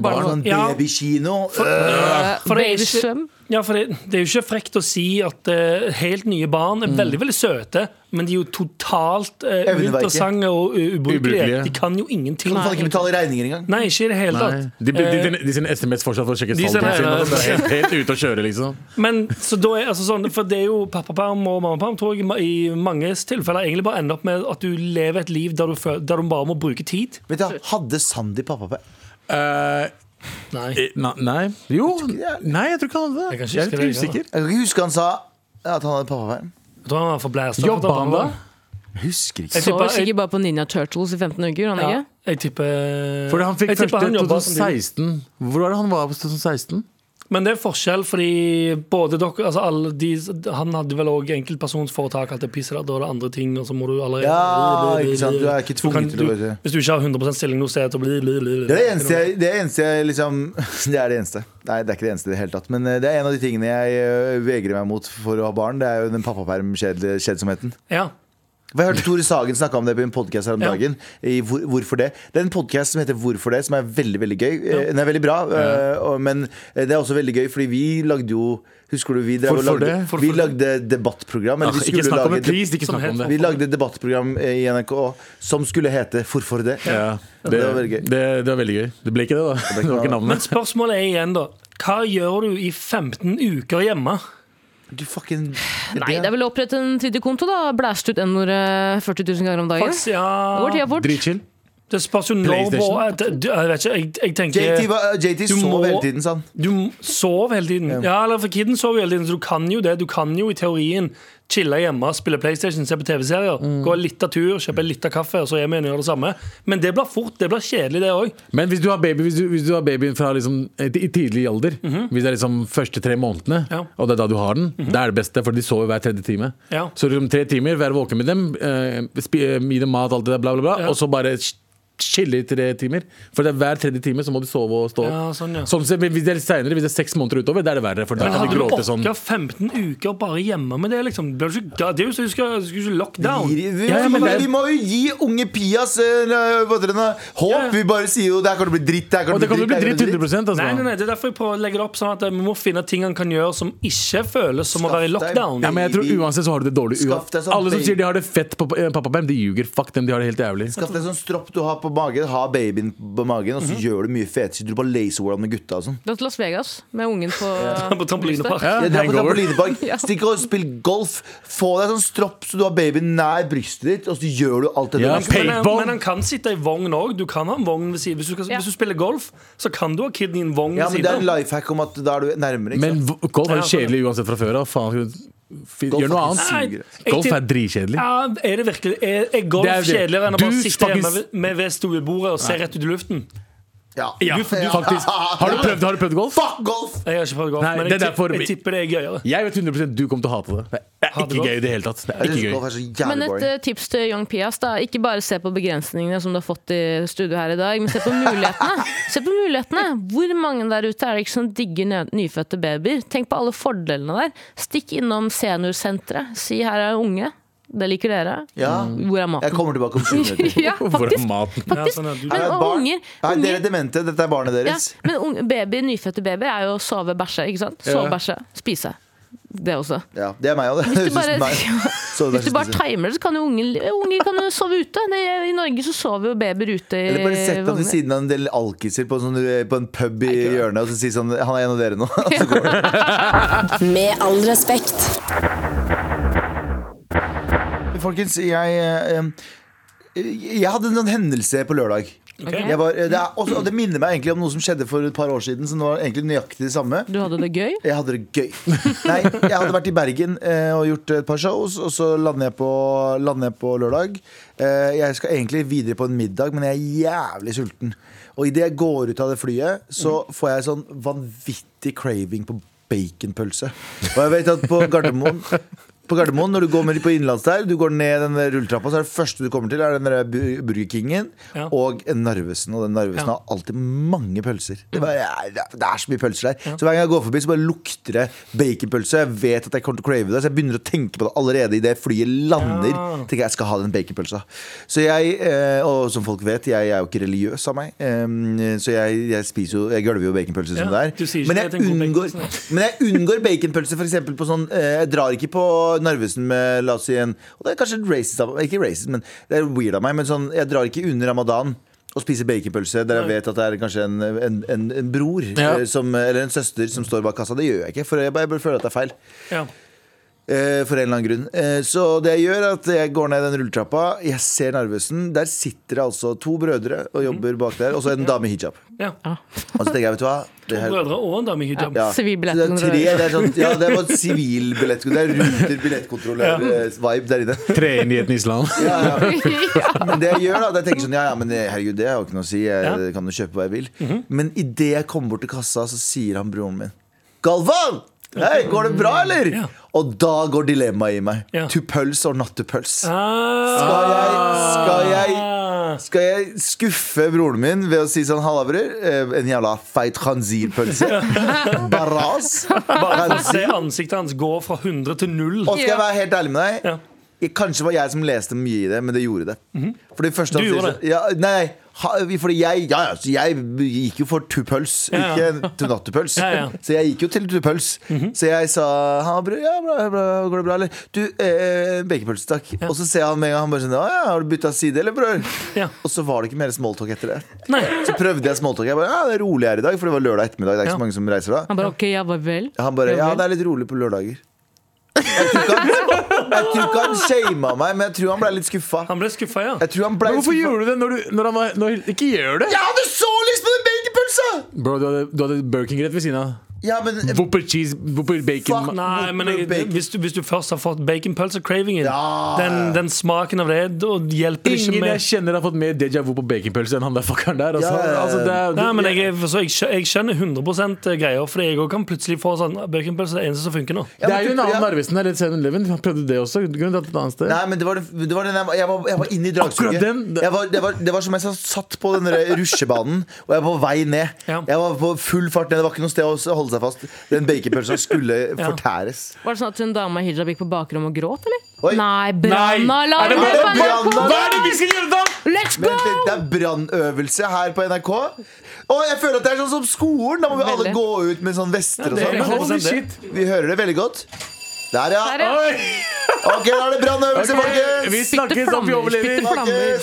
Barn. barn. Sånn Ja. babykino. Øh, eh, Ah, for det er ikke- babysvøm. Ja, for det, det er jo ikke frekt å si at eh, helt nye barn Mm. er veldig veldig søte, men de er jo totalt eh, Evneveike. uinteressante og uh, ubrukelige. Ubrukelige. De kan jo ingenting. Man kan ikke betale regninger engang. Nei, ikke i det hele Nei. tatt. De, de, de, Eh, de, de sender SMS fortsatt for å sjekke De saldoen sin. sender- og sånn. Det er Helt, helt ute å kjøre, liksom. men så da er, altså, sånn, For det er jo pappaperm og mammaperm tror jeg i manges tilfeller egentlig bare ender opp med at du lever et liv der du, føl- der du bare må bruke tid. Vet du, Hadde Sandy pappaperm? Eh, Nei. eh, nei. nei. Jo. det er- Nei, jeg tror ikke han hadde Jeg det. Jeg er kan ikke huske litt det, ja. usikker. Jeg kan ikke huske han sa at han hadde pappaperm. Jeg tror han var for blæsta. Jobba han da? Jeg Husker ikke. Jeg Så tipper- sikkert bare på Ninja Turtles i 15 uker. gjorde Han Ja, ikke? jeg tipper Fordi han fikk jeg tipper første han jobba som de- 2016. Hvor var det han var på 2016? Men det er forskjell, fordi både dere altså alle de, Han hadde vel òg enkeltpersonsforetak, alt det pisset der, da er det andre ting, og så må du allerede Ja, ikke sant, du er ikke tvunget kan- til du- å gjøre det. Hvis du ikke har 100 stilling noe sted, så blir Det er det eneste jeg, det er eneste jeg liksom Det er det eneste. Nei, det er ikke det eneste i det hele tatt. Men eh, det er en av de tingene jeg eh, vegrer meg mot for å ha barn. Det er jo den pappaperm-kjedsomheten. Ja. For Jeg hørte Tore Sagen snakke om det på en podcast her om Ja. dagen. I hvor, hvorfor det? Det er en podcast som heter Hvorfor det, som er veldig veldig gøy. Eh, Den er veldig bra, eh, og- men eh, det er også veldig gøy, fordi vi lagde jo Husker du, vi, drev og lagde, Hvorfor det? vi lagde debattprogram. Eller vi Ah, ikke skulle snakk om lage det, please! Ikke som snakk om het- det. vi lagde et debattprogram eh, i NRK som skulle hete Hvorfor det? Ja, det, Det var veldig gøy. Det, det var veldig gøy. Det ble ikke det, da. Det var ikke Men navnet. spørsmålet er igjen, da. Hva gjør du i 15 uker hjemme? Du fucking Nei, det er vel å opprette en tredje konto, da. Blæst ut N-ordet 40 000 ganger om dagen. Faktisk, ja, Da går tida fort. Dritchill. det spørs jo når PlayStation? hvor- det- du- Jeg vet ikke, jeg, jeg Eh, JT, tenker var- JT Du sov må- hele tiden, sa han. Du sov hele tiden. Ja, eller for kiden sover jo hele tiden, så du kan jo det. Du kan jo i teorien chille hjemme, spille PlayStation, se på TV-serier, Mm. gå litt av tur, kjøpe litt av kaffe, og så hjem igjen og gjøre det samme. Men det blir fort. Det blir kjedelig, det òg. Men hvis du har, baby, hvis du, hvis du har babyen fra liksom, eh, i tidlig alder, hvis det er liksom første tre månedene, Mhm. Ja. Mhm. og det er da du har den, det er det beste, for de sover hver tredje time. Ja. Så liksom tre timer, være våken med dem, eh, spi, eh, gi dem mat, alt det der, bla, bla, bla, Ja. og så bare ch- chille i tre timer. For det er hver tredje time så må du sove og stå opp. Ja, sånn, ja. Sånn, se- men hvis det er senere, hvis det er seks måneder utover, da er det verre, for da kan Men du hadde du gråte orka sånn. 15 uker bare hjemme med det, liksom? Det er jo ikke, det er jo så- du skal du skal ikke lockdown. Vi, vi, Ja, ja, men vi, det- må jo gi unge Pias eh, hva heter det nå? håp. Ja, ja. Vi bare sier jo det her kommer til å bli dritt. Det her Og det kommer til kan jo å bli bli dritt, dritt det her kommer til å bli dritt. 100 altså. Nei, nei, nei, det er derfor jeg prøver å legge det opp sånn at vi må finne ting han kan gjøre som ikke føles som å være i Skaff deg lockdown. Ja, men jeg tror Baby. Uansett så har du det dårlig. Skaff uansett. deg sånn Alle som baby. sier de har det fett på eh, pappaperm, de ljuger. Fuck dem, de har det helt jævlig. Skaff deg sånn stropp du har på magen, ha babyen på magen, og så Mhm. gjør du mye fete shit. Du bare laser world med gutta og sånn. Dra til Las Vegas med ungen på På trampolinepark. Ja, Ja, dra på hangover. trampolinepark, Ja. stikk og spill golf. Få deg sånn stropp så du har babyen nær brystet ditt, og så gjør du alt det der. Ja, Men han, Paintball. men han kan sitte i vogn òg. Du kan ha en vogn ved siden. Hvis du, skal, Ja. hvis du spiller golf, så kan du ha kiden i en vogn Ja, men ved det er en siden. life hack om at da er du nærmere. Ikke Men sant? v- golf er Ja, jo sånn. kjedelig uansett fra før av. Faen, skal du Fin- Gjør noe annet. Nei, suger, jeg Golf er til- dritkjedelig. Ja, er det virkelig Er, er golf Det er det. kjedeligere enn å Du bare sitte hjemme faktisk- ved- med ved stuebordet og se rett ut i luften? Ja. Ja, du- du- faktisk. Har du prøvd, har du prøvd golf? Fuck golf! Jeg har ikke prøvd golf, Nei, men det jeg, er derfor tipp- vi- jeg tipper det er gøyere. Jeg vet 100 du kommer til å hate det. Det er Hater ikke golf? gøy i det hele tatt. Det Jeg er synes ikke golf gøy. er så Men jævlig et boring. eh, tips til Young Pias, da. Ikke bare se på begrensningene som du har fått i studio her i dag, men se på mulighetene. Se på mulighetene! Hvor mange der ute er det ikke som digger ne- nyfødte babyer? Tenk på alle fordelene der. Stikk innom seniorsenteret. Si her er unge. Det liker dere. Ja. Hvor er Jeg maten? kommer tilbake om sju minutter. Mm. Ja, Hvor er faktisk. maten? Ja, faktisk. sånn er det. Er Men det et og barn? unger, Nei, unger dere er demente. Dette er barnet ja, deres. Men unge, baby, nyfødte babyer er jo å sove, bæsje. ikke sant? Sove, bæsje, spise. Det også. Ja, Det er meg òg, det. Hvis du Synes bare- meg. Så det er Hvis du bare synes- timer det, så kan jo unger, unger kan jo sove ute. Det, I Norge så sover jo babyer ute i Eller bare sett ham ved vogner. siden av en del alkiser på, en sånn, på en pub i hjørnet og så si sånn Han er en av dere nå. Med all respekt. Folkens, jeg eh, Jeg hadde en hendelse på lørdag. Ok. Jeg var, eh, det, er, også, og det minner meg egentlig om noe som skjedde for et par år siden. Som var egentlig nøyaktig det samme Du hadde det gøy? Jeg hadde det gøy. Nei, jeg hadde vært i Bergen eh, og gjort et par shows, og så lander jeg på, lander jeg på lørdag. Eh, jeg skal egentlig videre på en middag, men jeg er jævlig sulten. Og idet jeg går ut av det flyet, så får jeg sånn vanvittig craving på baconpølse. Og jeg vet at på Gardermoen på Gardermoen, når du går med på innenlands der, du går ned den der rulletrappa, så er det første du kommer til, er den der Bu- Burger Kingen Ja. og en Narvesen. Og den Narvesen Ja. har alltid mange pølser. Det, bare, er- det er så mye pølser der. Så hver gang jeg går forbi, så bare lukter det baconpølse. Jeg vet at jeg kommer til å crave det, så jeg begynner å tenke på det allerede idet flyet lander. Ja. Tenker jeg, jeg skal ha den baconpølsa. Så jeg, eh, og som folk vet, jeg er jo ikke religiøs av meg, eh, så jeg, jeg spiser jo Jeg gølver jo baconpølse som Ja, det du er. sier ikke Men at jeg en unngår god baconpølse, nei. men jeg unngår baconpølse for eksempel på sånn eh, Jeg drar ikke på Narvesen med La oss si en Og det er kanskje racist av Ikke racist, men det er weird av meg Men sånn, jeg drar ikke under ramadan og spiser baconpølse Der jeg vet at det er kanskje en, en, en, en bror Ja. eh, som, Eller en søster som står bak kassa Det gjør jeg ikke, for jeg bare jeg bare føler at det er feil Ja. Eh, For en eller annen grunn Eh, Så det jeg gjør er at jeg går ned den rulletrappa Jeg ser Narvesen, der sitter det altså To brødre og jobber bak der Og så en dame i hijab Ja. Og så tenker jeg, vet du hva Det her- Brødre og en dame i hijab. ja. Sivilbillett- Så Det er tre, det er sånn, ja, det var sivilbillett Det er ruter billettkontrollør-vibe der inne. Tre inn i et islam. Ja, ja. Men det jeg gjør, da det er at jeg tenker sånn Ja, ja, men herregud, det har jo ikke noe å si. Jeg Ja. Mhm. kan jo kjøpe hva jeg vil. Men idet jeg kommer bort til kassa, så sier han broren min Galvan! Hei, går det bra, eller? Ja. Og da går dilemmaet i meg. Ja. Tupøls og nattepøls. Ah, Skal jeg, skal jeg skal jeg skuffe broren min ved å si sånn Halla, bror. eh, En jævla feit khanzir-pølse. Barras. bare for å se ansiktet hans gå fra 100 til 0. Og skal jeg være helt ærlig med deg Ja. Mhm. jeg, Kanskje var jeg som leste mye i det, men det gjorde det. For det første han Du sier gjorde så- Ja, nei, ha, fordi jeg, ja, ja, så jeg gikk jo for tupøls, Ja, ja. ikke til nattepøls. Ja, Mhm. ja. Så jeg gikk jo til tupøls. Så jeg sa ha, bro, ja, bra, bra, går det bra, eller? Du, eh, bakerpølse, takk. Og så ser han med en gang han bare sånn, «Å ja, har du bytta side, eller, bror? Ja. Og så var det ikke mer smalltalk etter det. Nei. Så prøvde jeg smalltalk. Jeg bare, ja, det er rolig her i dag, for det var lørdag ettermiddag. Det er ikke Ja. så mange som reiser da. Han bare OK, ja, hva vel? Han bare Ja, det er litt rolig på lørdager. Jeg tror ikke han, jeg tror ikke han shama meg, men jeg tror han ble litt skuffa. Han ble skuffa, ja. Jeg tror han ble Men litt hvorfor skuffa. gjorde du det når, du, når han var når, Ikke gjør det! Jeg hadde så lyst på den baconpølsa! Bro, du hadde, du hadde Burger King rett ved siden av. Ja, men Whopper cheese, whopper bacon. Fuck. Nei, men jeg, Bacon. hvis, du, hvis du først har fått baconpølse-cravingen, Ja. den, den smaken av det da hjelper det ikke Ingen jeg med kjenner har fått mer deja vu på baconpølse enn han der fuckeren der. Altså, Ja, ja, ja. altså, det er, Nei, men jeg, er- for så jeg, skjø- jeg skjønner 100 greier, Fordi jeg også kan plutselig få sånn baconpølse. Det er det eneste som funker nå. det er jo en Ja, men- annen Narvesen der, rett 7-Eleven. Han prøvde det også. Du kunne dratt et annet sted. Nei, men det var, det, det var den jeg, var- jeg var, jeg var inne i dragsuget. Akkurat den- Jeg var, det, var, det var som jeg satt- satt på den der rusjebanen, og jeg var på vei ned. Ja. Jeg var på full fart ned, det var ikke noe sted å holde seg fast. Den baconpølsa skulle Ja. fortæres. Var det sånn at hun dama i hijab gikk på bakrommet og gråt, eller? Oi. Nei, Er det bare- brannalarm! på NRK! Brannalarm? Hva er det vi skal gjøre da?! Let's go! Vent litt, det er brannøvelse her på NRK. Og jeg føler at det er sånn som skolen. Da må vi alle Veldig. gå ut med sånn vester og Ja, det er sånn. Holy 100% det. shit! Vi hører det veldig godt. Der, ja. Der, ja. Oi! Ok, da er det brannøvelse, Ok, Eh, vi Altså, folkens! snakkes om vi overlever. Spytte flammer.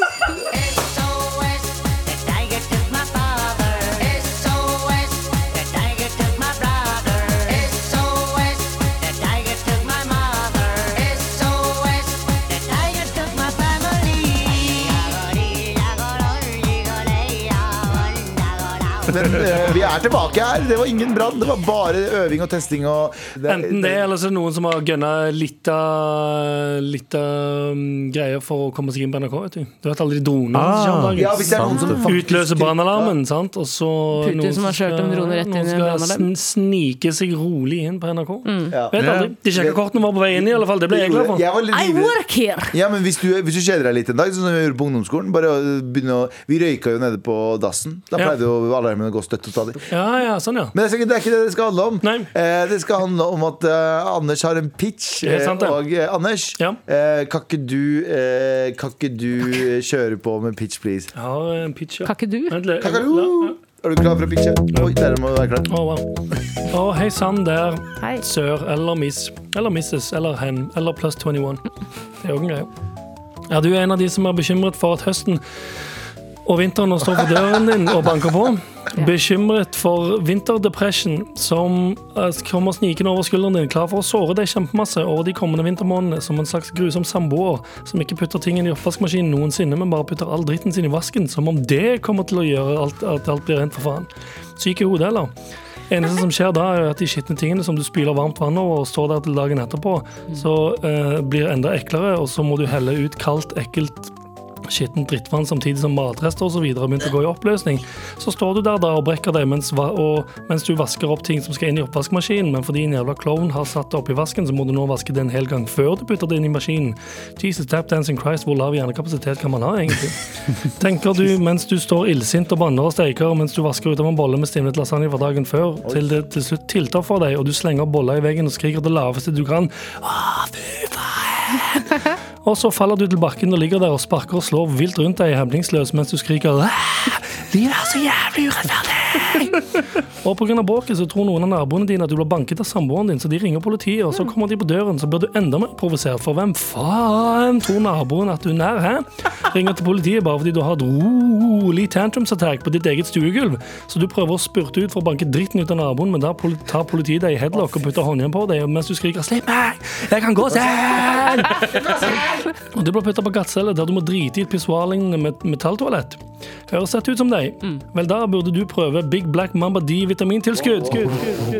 Snakkes! SOS, the tiger took my father. SOS, the tiger took my brother. SOS, the tiger took my mother. SOS, the tiger took my family. men eh, vi er tilbake her. Det var ingen brann. Det var bare øving og testing og Enten det, eller så er det noen som har gønna litt av litt av, mm, greier for å komme seg inn på NRK. Vet du. du vet alle de dronene Ah. som kommer om Ja, hvis det er dagen. noen som faktisk Utløse brannalarmen, sant. Og så Putin noen som har kjørt skal- en drone rett inn i en Noen skal brannalarm. sn- snike seg rolig inn på NRK. Mm. Ja. Vet aldri. De sjekka kortene våre på vei inn, i alle fall. Det ble jeg glad for. Jeg var litt I livredd. work here! Ja, men hvis du, hvis du kjeder deg litt en dag, sånn som vi gjorde på ungdomsskolen bare å begynne å, Vi røyka jo nede på dassen. Da Ja. pleide jo alarmen å gå støtt og stadig. Ja, ja, sånn, ja. Men det er, sikkert- det er ikke det det skal handle om. Nei. Eh, det skal handle om at eh, Anders har en pitch. Det er sant, eh, det. og eh, Anders, Ja. eh, kan ikke du, eh, kan ikke du eh, kjøre på med pitch, please? Jeg har eh, en pitch. ja. Kan ikke du? Vent litt. Kakalo! Er du klar for å pitche? Oi, der må du være klar. Å, wow. Å, hei sann der, Hei. sør eller miss, eller misses, eller hen, eller pluss 21. Det er òg en greie. Er du en av de som er bekymret for at høsten og vinteren nå står for døren din og banker på? Bekymret for vinterdepression som eh, kommer snikende over skulderen din, klar for å såre deg kjempemasse over de kommende vintermånedene som en slags grusom samboer som ikke putter tingene i oppvaskmaskinen noensinne, men bare putter all dritten sin i vasken, som om det kommer til å gjøre alt, at alt blir rent, for faen. Syk i hodet, eller? Eneste som skjer da, er at de skitne tingene som du spyler varmt vann over og står der til dagen etterpå, så eh, blir enda eklere, og så må du helle ut kaldt, ekkelt skittent drittvann samtidig som matrester osv. har begynt å gå i oppløsning. Så står du der da og brekker deg mens, va- og, mens du vasker opp ting som skal inn i oppvaskmaskinen, men fordi en jævla klovn har satt det oppi vasken, så må du nå vaske det en hel gang før du putter det inn i maskinen. Jesus, tap dancing Christ, hvor lav hjernekapasitet kan man ha, egentlig? Tenker du mens du står illsint og banner og steiker, og mens du vasker ut av en bolle med stivnet lasagne fra dagen før, til det til slutt tiltar for deg, og du slenger bolla i veggen og skriker det laveste du kan. Og så faller du til bakken og ligger der og sparker og slår vilt rundt deg hemningsløs mens du skriker «Æ, Livet er så jævlig urettferdig! og pga. bråket så tror noen av naboene dine at du ble banket av samboeren din, så de ringer politiet, og så kommer de på døren, så blir du enda mer provosert, for hvem faen tror naboen at du er nær, hæ? Ringer til politiet bare fordi du har et rolig tantrums-attack på ditt eget stuegulv, så du prøver å spurte ut for å banke dritten ut av naboen, men da poli- tar politiet deg i headlock og putter håndjern på deg mens du skriker 'slipp meg, jeg kan gå selv'. Og du blir putta på glattcelle der du må drite i et pissoarlignende met- metalltoalett. Høres dette ut som deg? Vel, da burde du prøve Big Black Mamba D-vitamintilskudd.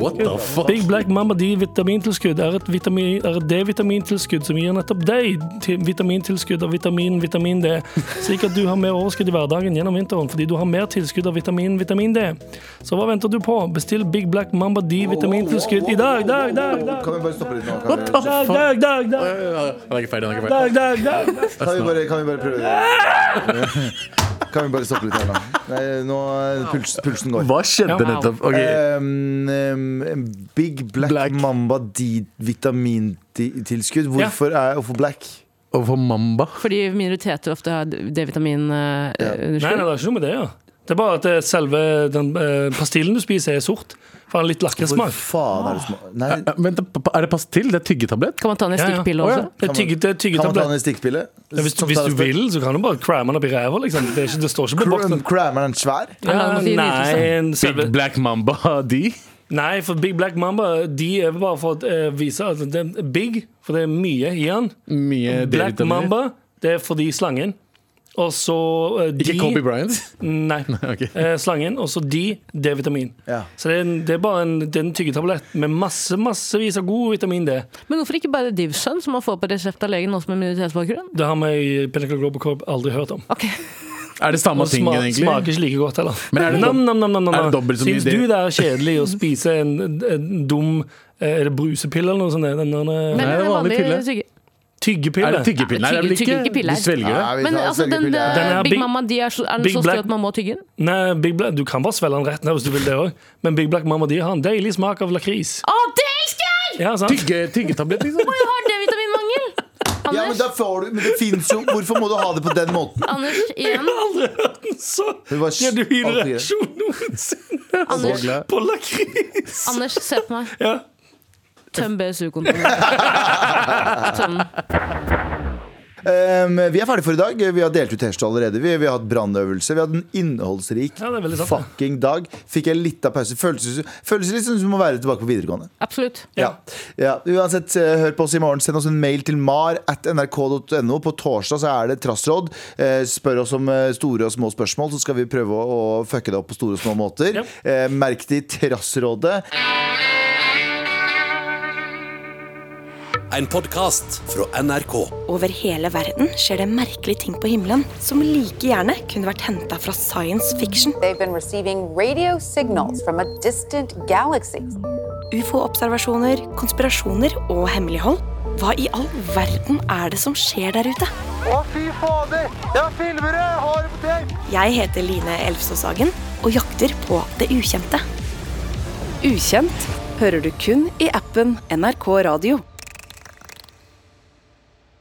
What the fuck? Big Black Mamba D-vitamintilskudd er et, vitami- er et D-vitamintilskudd som gir nettopp deg til- vitamintilskudd av vitamin, vitamin D, slik at du har mer overskudd i hverdagen gjennom vinteren fordi du har mer tilskudd av vitamin, vitamin D. Så hva venter du på? Bestill Big Black Mamba D-vitamintilskudd i dag, dag, dag, dag, Kan vi bare stoppe litt nå? Kan vi, dag, dag, dag, dag, Han er ikke ferdig, han er ikke ferdig. dag, dag, dag. kan vi, bare, kan vi bare prøve det? Kan vi bare stoppe litt her nå? Nei, nå eh, puls, pulsen går. Hva skjedde Wow. nettopp? Ok, Um, um, Big Black, Black. Mamba D-vitamintilskudd. Hvorfor er hvorfor black? Og for Mamba? Fordi minoriteter ofte har eh, D-vitamin-underskudd. Nei, nei, det er ikke noe med det, ja. Det er bare at eh, selve den eh, pastillen du spiser, er sort. For den har litt Hvor lakkesmak. faen er det som Nei, Eh, eh, Vent, p- p- er det pastill? Det er tyggetablett? Kan man ta ned Ja, ja. stikkpille Å, også? ja. Det er tygget- det kan man er ta den tyggetablett. i stikkpille? Ja, hvis, du- hvis du vil, så kan du bare cramme den opp i ræva, liksom. Det, er ikke, det står ikke på boksen. Crammer den svær? Ja, Eller noe nei, en Big selve, Black Mamba de? nei, for Big Black Mamba De er bare for å eh, vise at det er big, for det er mye i den. Mye Black D-vitaminer. Mamba, det er fordi slangen. Og så eh, de Ikke Kobe Bryant? Nei. ok. Eh, slangen, og så de D-vitamin. Ja. Så det er, en, det er bare en, det er en tyggetablett med masse, massevis av god vitamin D. Men hvorfor ikke bare Divson, som man får på resept av legen, nå som er minoritetsbakgrunn? Det har vi i Pinnacle Global Corp aldri hørt om. Ok, Er det samme Og tingen, sma egentlig? smaker ikke like godt heller. Men er det nam, nam, nam, nam, nam. er det dobbelt så mye Syns det? du det er kjedelig å spise en, en dum eh, Er det brusepille eller noe sånt? det? Den der, Men eh, Nei, det er vanlig pille. Er Tyggepille. det tyggepille? Nei, det er vel Tygge- ikke tyggepiller. Du svelger det? Nei, vi Men tar altså, den, svelgepille. eh, Den er Big, Big- Mamma de er så, er den Big så Black- støt man må tygge den? Nei, Big Black, du kan bare svelge den rett ned hvis du vil det òg. Men Big Black Mamma de har en deilig smak av lakris. Å, det elsker jeg! Ja, sant? Tygge, tyggetablett, liksom? Jeg har D-vitaminmangel! Ja, men, Anders, da får du, men det fins jo Hvorfor må du ha det på den måten? Anders, igjen. Så Det var genuin alt i det. reaksjon noensinne Anders, glad. på lakris. Anders se på meg. Ja. Tøm BSU-kontoret. Tøm den. Um, vi er ferdige for i dag. Vi har delt ut T-skjorte allerede. Vi, vi har hatt brannøvelse. Vi har hatt en innholdsrik Ja, det er veldig sant, det. fucking dag. Fikk jeg litt av pause. Føles, føles litt som om å være tilbake på videregående. Absolutt. Ja. ja. Uansett, eh, hør på oss i morgen. Send oss en mail til mar at nrk.no. På torsdag så er det trassråd. Eh, Spør oss om eh, store og små spørsmål, så skal vi prøve å å fucke det opp på store og små måter. Ja. Eh, Merk det i trassrådet. En podkast fra NRK. Over hele verden skjer det merkelige ting på himmelen som like gjerne kunne vært henta fra science fiction. They've been receiving radio signals from a distant galaxy. Ufo-observasjoner, konspirasjoner og hemmelighold. Hva i all verden er det som skjer der ute? Jeg heter Line Elfsås Hagen og jakter på det ukjente. Ukjent hører du kun i appen NRK Radio.